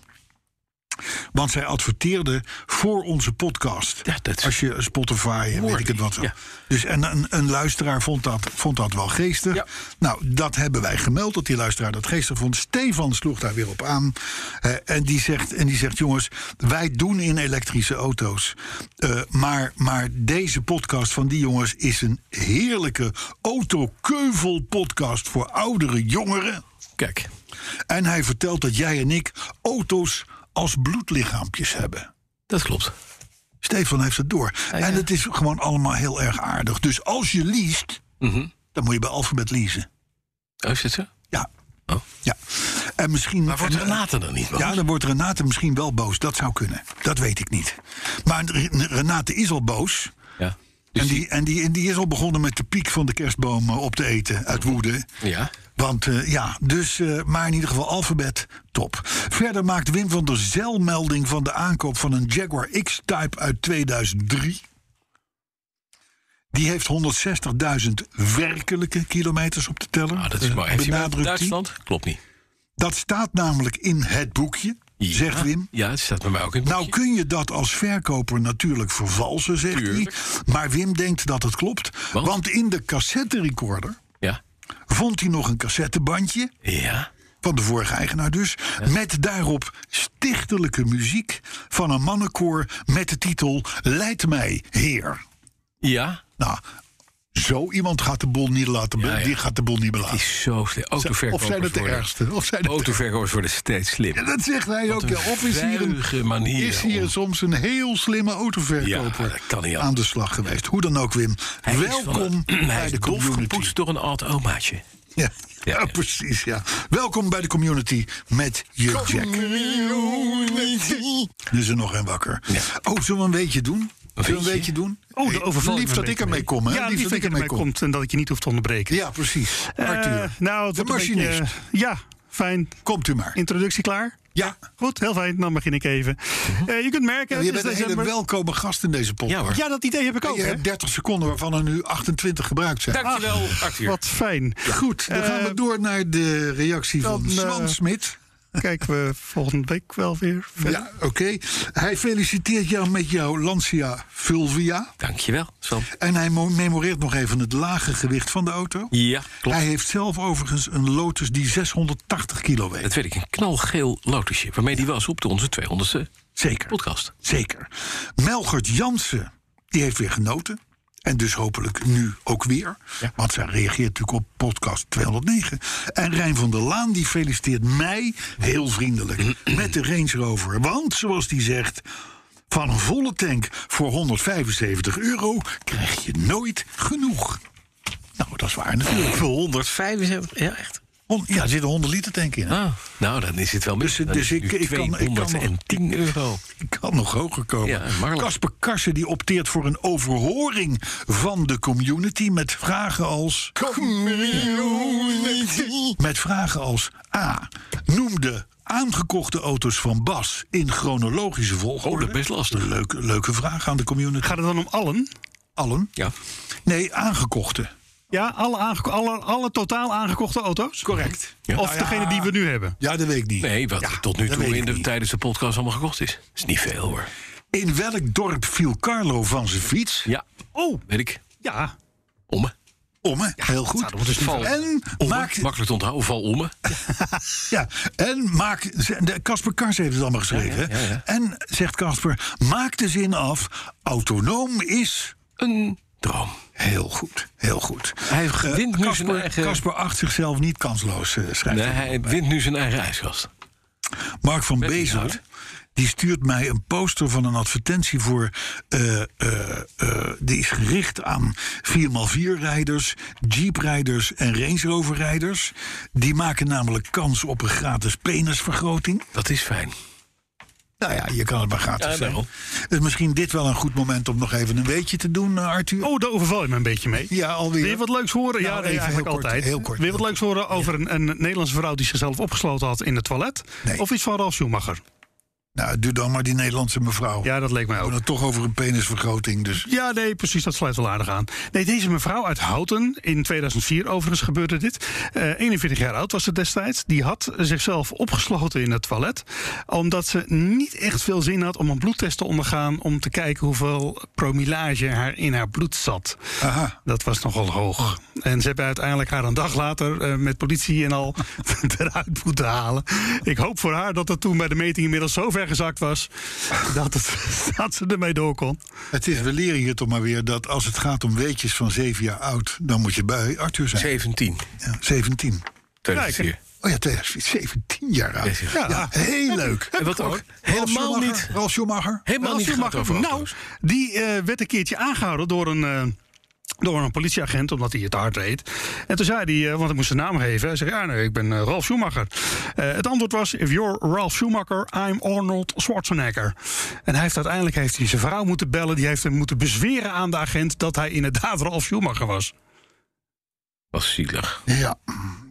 [SPEAKER 5] Want zij adverteerde voor onze podcast.
[SPEAKER 4] Ja, dat is-
[SPEAKER 5] Als je Spotify, en weet ik het wat.
[SPEAKER 4] ja.
[SPEAKER 5] Dus en een, een luisteraar vond dat, vond dat wel geestig.
[SPEAKER 4] Ja.
[SPEAKER 5] Nou, dat hebben wij gemeld, dat die luisteraar dat geestig vond. Stefan sloeg daar weer op aan. Eh, en, die zegt, en die zegt, jongens, wij doen in elektrische auto's. Eh, maar, maar deze podcast van die jongens is een heerlijke autokeuvel-podcast... voor oudere jongeren.
[SPEAKER 4] Kijk.
[SPEAKER 5] En hij vertelt dat jij en ik auto's als bloedlichaampjes hebben.
[SPEAKER 4] Dat klopt.
[SPEAKER 5] Stefan heeft het door.
[SPEAKER 4] Ah, ja.
[SPEAKER 5] En het is gewoon allemaal heel erg aardig. Dus als je leest,
[SPEAKER 4] Mhm.
[SPEAKER 5] dan moet je bij Alphabet leasen.
[SPEAKER 4] Oh, is dat zo?
[SPEAKER 5] Ja.
[SPEAKER 4] Oh.
[SPEAKER 5] ja. En misschien.
[SPEAKER 4] Maar wordt
[SPEAKER 5] en-
[SPEAKER 4] Renate dan niet? man?
[SPEAKER 5] Ja, dan wordt Renate misschien wel boos. Dat zou kunnen. Dat weet ik niet. Maar Re- Renate is al boos.
[SPEAKER 4] ja.
[SPEAKER 5] en, die, en, die, en die is al begonnen met de piek van de kerstboom eh, op te eten uit woede.
[SPEAKER 4] Ja.
[SPEAKER 5] Want eh, ja, dus, eh, maar in ieder geval alfabet, top. Verder maakt Wim van der Zel melding van de aankoop van een Jaguar X-Type uit 2003. Die heeft 160.000 werkelijke kilometers op de teller.
[SPEAKER 4] Ah, dat is mooi. Heeft hij wel
[SPEAKER 5] Eh, Benadrukt hij.
[SPEAKER 4] Duitsland? Klopt niet.
[SPEAKER 5] Dat staat namelijk in het boekje,
[SPEAKER 4] Ja.
[SPEAKER 5] zegt Wim.
[SPEAKER 4] Ja, het staat bij mij ook in het
[SPEAKER 5] Nou
[SPEAKER 4] boekje.
[SPEAKER 5] kun je dat als verkoper natuurlijk vervalsen, zegt
[SPEAKER 4] Tuurlijk.
[SPEAKER 5] hij. Maar Wim denkt dat het klopt.
[SPEAKER 4] Want?
[SPEAKER 5] Want, in de cassetterecorder
[SPEAKER 4] Ja.
[SPEAKER 5] vond hij nog een cassettebandje...
[SPEAKER 4] Ja.
[SPEAKER 5] van de vorige eigenaar dus. Met daarop stichtelijke muziek van een mannenkoor met de titel Leid mij, Heer.
[SPEAKER 4] Ja.
[SPEAKER 5] Nou, zo iemand gaat de boel niet laten. be-
[SPEAKER 4] Ja, ja.
[SPEAKER 5] Die gaat de boel niet belaten.
[SPEAKER 4] Het is zo slim.
[SPEAKER 5] of
[SPEAKER 4] Autoverkopers
[SPEAKER 5] zijn het de
[SPEAKER 4] worden-
[SPEAKER 5] ergste? Of zijn het de-
[SPEAKER 4] Autoverkopers worden steeds
[SPEAKER 5] Ja,
[SPEAKER 4] slim.
[SPEAKER 5] dat zegt hij ook.
[SPEAKER 4] een
[SPEAKER 5] Ja. Of is hier,
[SPEAKER 4] vuige
[SPEAKER 5] een,
[SPEAKER 4] manier
[SPEAKER 5] is hier
[SPEAKER 4] om-
[SPEAKER 5] soms een heel slimme
[SPEAKER 4] Ja,
[SPEAKER 5] autoverkoper
[SPEAKER 4] dat kan niet
[SPEAKER 5] aan
[SPEAKER 4] anders.
[SPEAKER 5] de slag geweest. Hoe dan ook, Wim.
[SPEAKER 4] Hij is van
[SPEAKER 5] Welkom
[SPEAKER 4] een- hij
[SPEAKER 5] bij
[SPEAKER 4] is
[SPEAKER 5] de
[SPEAKER 4] dof
[SPEAKER 5] community.
[SPEAKER 4] gepoetst door een oud omaatje.
[SPEAKER 5] Ja,
[SPEAKER 4] Ja,
[SPEAKER 5] ja,
[SPEAKER 4] ja.
[SPEAKER 5] precies. Ja. Welkom bij de community met je Jack. Dus er nog een wakker. Oh, zullen we een beetje doen? Zullen we een
[SPEAKER 4] weetje?
[SPEAKER 5] beetje doen?
[SPEAKER 6] Oh, de overval
[SPEAKER 5] Lief
[SPEAKER 6] ik
[SPEAKER 5] dat
[SPEAKER 6] een
[SPEAKER 5] ik
[SPEAKER 6] beetje
[SPEAKER 5] ermee
[SPEAKER 6] mee.
[SPEAKER 5] kom, hè?
[SPEAKER 6] Ja, lief dat ik ermee
[SPEAKER 5] kom.
[SPEAKER 6] komt en dat ik je niet hoeft te onderbreken.
[SPEAKER 5] Ja, precies.
[SPEAKER 6] Eh,
[SPEAKER 5] Arthur,
[SPEAKER 6] nou, het
[SPEAKER 5] de
[SPEAKER 6] wordt een
[SPEAKER 5] machinist.
[SPEAKER 6] beetje, eh, ja, fijn.
[SPEAKER 5] Komt u maar.
[SPEAKER 6] Introductie klaar?
[SPEAKER 5] Ja,
[SPEAKER 6] Goed, heel fijn. Dan begin ik even.
[SPEAKER 4] Uh-huh.
[SPEAKER 6] Eh, je kunt merken,
[SPEAKER 5] je
[SPEAKER 6] het
[SPEAKER 5] bent
[SPEAKER 6] is
[SPEAKER 5] een hele
[SPEAKER 6] december.
[SPEAKER 5] welkome gast in deze podcast.
[SPEAKER 4] Ja hoor.
[SPEAKER 6] Ja, dat idee heb ik
[SPEAKER 5] En
[SPEAKER 6] ook.
[SPEAKER 5] je
[SPEAKER 6] hè?
[SPEAKER 5] hebt 30 seconden waarvan er nu 28 gebruikt zijn.
[SPEAKER 4] Dankjewel, Arthur.
[SPEAKER 6] Wat fijn.
[SPEAKER 5] Goed, dan gaan we
[SPEAKER 6] Eh,
[SPEAKER 5] door naar de reactie
[SPEAKER 6] dan,
[SPEAKER 5] van
[SPEAKER 6] eh,
[SPEAKER 5] Swan Smit.
[SPEAKER 6] Kijken we volgende week wel weer verder.
[SPEAKER 5] Ja, oké. Hij feliciteert jou met jouw Lancia Fulvia.
[SPEAKER 4] Dankjewel, Sam.
[SPEAKER 5] En hij mo- memoreert nog even het lage gewicht van de auto.
[SPEAKER 4] Ja, klopt.
[SPEAKER 5] Hij heeft zelf overigens een Lotus die 680 kilo
[SPEAKER 4] Dat
[SPEAKER 5] weegt.
[SPEAKER 4] weet ik, een knalgeel lotusje. Waarmee die was op de onze 200ste
[SPEAKER 5] Zeker,
[SPEAKER 4] podcast.
[SPEAKER 5] zeker. Melgert Jansen, die heeft weer genoten. En dus hopelijk nu ook weer. Want zij reageert natuurlijk op podcast 209. En Rijn van der Laan, die feliciteert mij heel vriendelijk met de Range Rover. Want, zoals die zegt... Van een volle tank voor 175 euro krijg je nooit genoeg. Nou, dat is waar natuurlijk.
[SPEAKER 4] Voor 175, ja echt.
[SPEAKER 5] Hon- Ja, er zit een 100 liter tank in. hè.
[SPEAKER 4] Ah, nou, dan is het wel mis.
[SPEAKER 5] Dus-
[SPEAKER 4] Dan
[SPEAKER 5] dus
[SPEAKER 4] is het
[SPEAKER 5] ik-
[SPEAKER 4] nu
[SPEAKER 5] ik kan- ik kan nog-
[SPEAKER 4] 210 euro.
[SPEAKER 5] Ik kan nog hoger komen.
[SPEAKER 4] Ja, Marlon.
[SPEAKER 5] Kasper Karsen die opteert voor een overhoring van de community met vragen als. Met vragen als A. Noem de aangekochte auto's van Bas in chronologische volgorde.
[SPEAKER 4] Oh, dat is best lastig.
[SPEAKER 5] Leuke, leuke vraag aan de community.
[SPEAKER 6] Gaat het dan om allen?
[SPEAKER 5] Allen?
[SPEAKER 4] Ja.
[SPEAKER 5] Nee, aangekochte.
[SPEAKER 6] Ja, alle, aangeko- alle, alle totaal aangekochte auto's?
[SPEAKER 5] Correct. Nou
[SPEAKER 4] Ja.
[SPEAKER 6] Of degene die we nu hebben?
[SPEAKER 5] Ja, dat weet ik niet.
[SPEAKER 4] Nee, wat er tot nu
[SPEAKER 5] dat
[SPEAKER 4] toe
[SPEAKER 5] weet
[SPEAKER 4] in
[SPEAKER 5] ik
[SPEAKER 4] de,
[SPEAKER 5] niet.
[SPEAKER 4] tijdens de podcast allemaal gekocht is. Is niet veel hoor.
[SPEAKER 5] In welk dorp viel Carlo van zijn fiets?
[SPEAKER 4] Ja,
[SPEAKER 6] Oh,
[SPEAKER 4] weet ik.
[SPEAKER 6] ja.
[SPEAKER 4] Omme.
[SPEAKER 5] Omme, heel goed.
[SPEAKER 4] dat is val.
[SPEAKER 5] En
[SPEAKER 4] Omme.
[SPEAKER 5] maak,
[SPEAKER 4] Makkelijk te onthouden, val omme.
[SPEAKER 5] Ja, en maak. ze- de- Casper Kars heeft het allemaal geschreven.
[SPEAKER 4] Ja, ja, ja,
[SPEAKER 5] hè?
[SPEAKER 4] ja.
[SPEAKER 5] En zegt Casper: maak de zin af. Autonoom is.
[SPEAKER 4] Een droom.
[SPEAKER 5] Heel goed, heel goed.
[SPEAKER 4] Hij
[SPEAKER 6] Eh,
[SPEAKER 4] wint nu zijn
[SPEAKER 5] Casper-
[SPEAKER 4] eigen-
[SPEAKER 5] Casper acht zichzelf niet kansloos, eh, schrijft
[SPEAKER 4] eh, Nee,
[SPEAKER 5] hij.
[SPEAKER 4] hij wint nu zijn eigen ijskast.
[SPEAKER 5] Mark van
[SPEAKER 4] Met
[SPEAKER 5] Bezel,
[SPEAKER 4] inhoud.
[SPEAKER 5] die stuurt mij een poster van een advertentie voor. eh, eh, eh, die is gericht aan 4x4-rijders, Jeep-rijders en Range Rover-rijders. Die maken namelijk kans op een gratis penisvergroting.
[SPEAKER 4] Dat is fijn.
[SPEAKER 5] Nou ja, je kan het maar gratis
[SPEAKER 4] Ja,
[SPEAKER 5] zijn.
[SPEAKER 4] daarom.
[SPEAKER 5] Dus misschien dit wel een goed moment om nog even een weetje te doen, eh, Arthur.
[SPEAKER 6] Oh, daar overval je me een beetje mee.
[SPEAKER 5] Ja, alweer.
[SPEAKER 6] Wil je wat leuks horen?
[SPEAKER 5] Nou,
[SPEAKER 6] ja, nee,
[SPEAKER 5] even
[SPEAKER 6] eigenlijk
[SPEAKER 5] heel kort,
[SPEAKER 6] altijd.
[SPEAKER 5] heel kort.
[SPEAKER 6] Wil je wat leuks horen over een, een Nederlandse vrouw die zichzelf opgesloten had in het toilet?
[SPEAKER 5] Nee.
[SPEAKER 6] Of iets van Ralf Schumacher?
[SPEAKER 5] Nou, doe dan maar die Nederlandse mevrouw.
[SPEAKER 6] Ja, dat leek mij
[SPEAKER 5] We
[SPEAKER 6] ook.
[SPEAKER 5] doen het toch over een penisvergroting, dus...
[SPEAKER 6] Ja, nee, precies, dat sluit wel aardig aan. Nee, deze mevrouw uit Houten, in 2004 overigens gebeurde dit. eh, 41 jaar oud was ze destijds. Die had zichzelf opgesloten in het toilet. Omdat ze niet echt veel zin had om een bloedtest te ondergaan... om te kijken hoeveel promillage haar in haar bloed zat.
[SPEAKER 5] Aha.
[SPEAKER 6] Dat was nogal hoog. En ze hebben uiteindelijk haar een dag later eh, met politie en al eruit moeten halen. Ik hoop voor haar dat het toen bij de meting inmiddels zo ver gezakt was... dat, het, dat ze ermee door kon.
[SPEAKER 5] Het is, we leren hier toch maar weer dat als het gaat om weetjes van zeven jaar oud... dan moet je bij Arthur zijn.
[SPEAKER 4] 17.
[SPEAKER 5] Ja, 17.
[SPEAKER 4] 2004.
[SPEAKER 5] Oh ja, 17 jaar oud.
[SPEAKER 4] Ja,
[SPEAKER 5] Ja, heel leuk.
[SPEAKER 4] En wat ook helemaal niet,
[SPEAKER 5] Ralf Schumacher.
[SPEAKER 4] helemaal niet gaat over
[SPEAKER 6] Nou,
[SPEAKER 4] auto's.
[SPEAKER 6] die eh, werd een keertje aangehouden door een. eh, door een politieagent, omdat hij het te hard reed. En toen zei hij, eh, want ik moest zijn naam geven. Hij zei, ja, nee, ik ben eh, Ralf Schumacher. Eh, het antwoord was, if you're Ralf Schumacher, I'm Arnold Schwarzenegger. En hij heeft uiteindelijk heeft hij zijn vrouw moeten bellen. Die heeft hem moeten bezweren aan de agent dat hij inderdaad Ralf Schumacher was.
[SPEAKER 4] Was zielig.
[SPEAKER 5] Ja.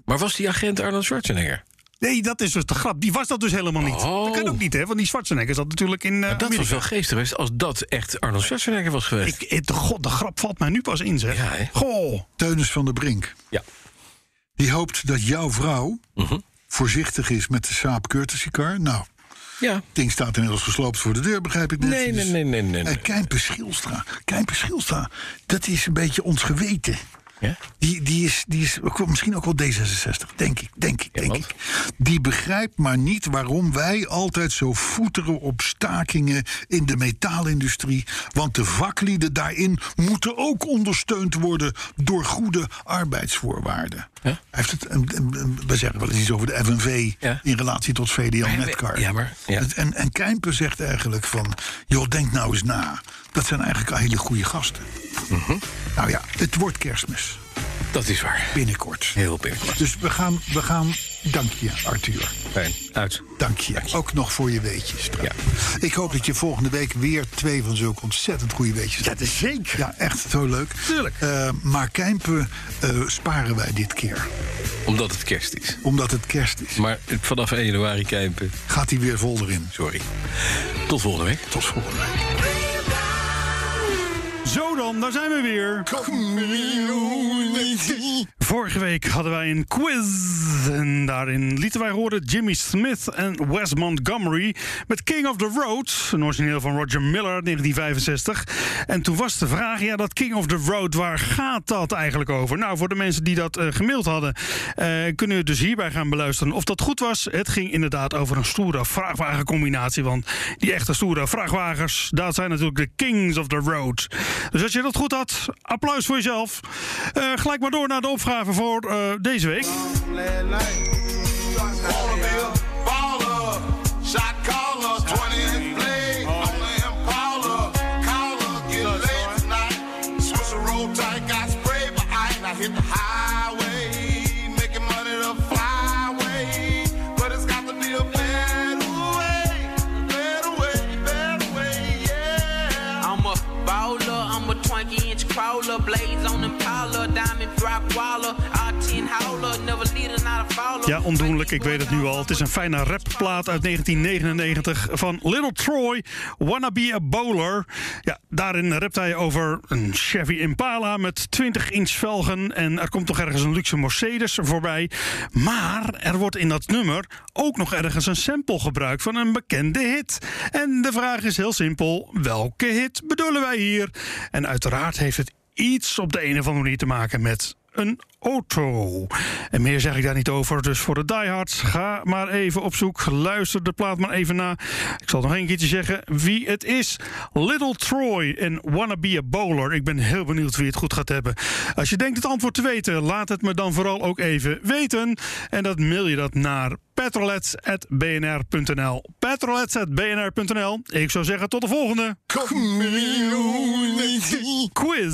[SPEAKER 4] Maar was die agent Arnold Schwarzenegger?
[SPEAKER 6] Nee, dat is dus de grap. Die was dat dus helemaal niet.
[SPEAKER 4] Oh.
[SPEAKER 6] Dat kan ook niet, hè? Want die Schwarzenegger zat natuurlijk in eh,
[SPEAKER 4] Maar dat was
[SPEAKER 6] Amerika.
[SPEAKER 4] wel geestig geweest als dat echt Arnold Schwarzenegger was geweest.
[SPEAKER 6] Ik, ik- de, god, de grap valt mij nu pas in, zeg.
[SPEAKER 4] Ja, hè?
[SPEAKER 6] Goh.
[SPEAKER 5] Teunis van der Brink.
[SPEAKER 4] Ja.
[SPEAKER 5] Die hoopt dat jouw vrouw voorzichtig is met de Saab Courtesy Car. Nou,
[SPEAKER 4] Ja.
[SPEAKER 5] Het ding staat inmiddels gesloopt voor de deur, begrijp ik net. Dus, eh,
[SPEAKER 4] Nee, nee, nee, nee, nee, nee.
[SPEAKER 5] En Kijmpe Schielstra, Kijmpe Schielstra, dat is een beetje ons geweten.
[SPEAKER 4] Ja?
[SPEAKER 5] Die, die is, die is ook- misschien ook wel D66, denk ik, denk ik, denk
[SPEAKER 4] want?
[SPEAKER 5] ik. Die begrijpt maar niet waarom wij altijd zo voeteren op stakingen in de metaalindustrie. Want de vaklieden daarin moeten ook ondersteund worden door goede arbeidsvoorwaarden. Hij Heeft het, een- een- een- we zeggen wel eens iets over de FNV
[SPEAKER 4] Ja.
[SPEAKER 5] in relatie tot VDL Netcar.
[SPEAKER 4] Ja, maar- ja.
[SPEAKER 5] Het- En, en Kijmper zegt eigenlijk van, joh, denk nou eens na. Dat zijn eigenlijk al hele goede gasten.
[SPEAKER 4] Mhm.
[SPEAKER 5] Nou ja, het wordt kerstmis
[SPEAKER 4] Dat is waar.
[SPEAKER 5] binnenkort.
[SPEAKER 4] Heel binnenkort.
[SPEAKER 5] Dus we gaan, we gaan, dank je Arthur.
[SPEAKER 4] Fijn. Uit.
[SPEAKER 5] Dank je. Ook nog voor je weetjes. trouwens. Ik hoop dat je volgende week weer twee van zulke ontzettend goede weetjes hebt.
[SPEAKER 6] is zeker.
[SPEAKER 5] Ja, echt zo leuk.
[SPEAKER 6] Tuurlijk.
[SPEAKER 5] Eh, maar Kijmpen eh, sparen wij dit keer.
[SPEAKER 4] Omdat het kerst is.
[SPEAKER 5] Omdat het kerst is.
[SPEAKER 4] Maar vanaf 1 januari kijken.
[SPEAKER 5] Gaat hij weer vol erin.
[SPEAKER 4] Sorry. Tot volgende week.
[SPEAKER 5] Tot volgende week.
[SPEAKER 6] Zo dan, daar zijn we weer. Vorige week hadden wij een quiz. En daarin lieten wij horen Jimmy Smith en Wes Montgomery met King of the Road. Een origineel van Roger Miller uit 1965. En toen was de vraag, ja, dat King of the Road, waar gaat dat eigenlijk over? Nou, voor de mensen die dat eh, gemaild hadden, eh, kunnen we het dus hierbij gaan beluisteren. Of dat goed was, het ging inderdaad over een stoere vrachtwagencombinatie. Want die echte stoere vrachtwagens, dat zijn natuurlijk de kings of the road. Dus als je dat goed had, applaus voor jezelf. Eh, gelijk maar door naar de opgave voor eh, deze week.
[SPEAKER 7] Baller, shot caller, 20 play, only empire. 20 inch crawler, blades on Impala, diamond rockwaller, R10 howler, never leader, not a follower.
[SPEAKER 6] Ja, ondoenlijk, ik weet het nu al. Het is een fijne rapplaat uit 1999 van Little Troy, Wanna Be a Bowler. Ja, daarin rapt hij over een Chevy Impala met 20 inch velgen. En er komt toch ergens een luxe Mercedes voorbij. Maar er wordt in dat nummer ook nog ergens een sample gebruikt van een bekende hit. En de vraag is heel simpel: welke hit bedoelen wij hier? En uiteraard heeft het iets op de een of andere manier te maken met een auto. En meer zeg ik daar niet over, dus voor de diehards, ga maar even op zoek. Luister de plaat maar even na. Ik zal nog één keertje zeggen wie het is. Little Troy en Wanna Be a Bowler. Ik ben heel benieuwd wie het goed gaat hebben. Als je denkt het antwoord te weten, laat het me dan vooral ook even weten. En dat mail je dat naar petrolets.bnr.nl petrolets.bnr.nl Ik zou zeggen tot de volgende. Quiz.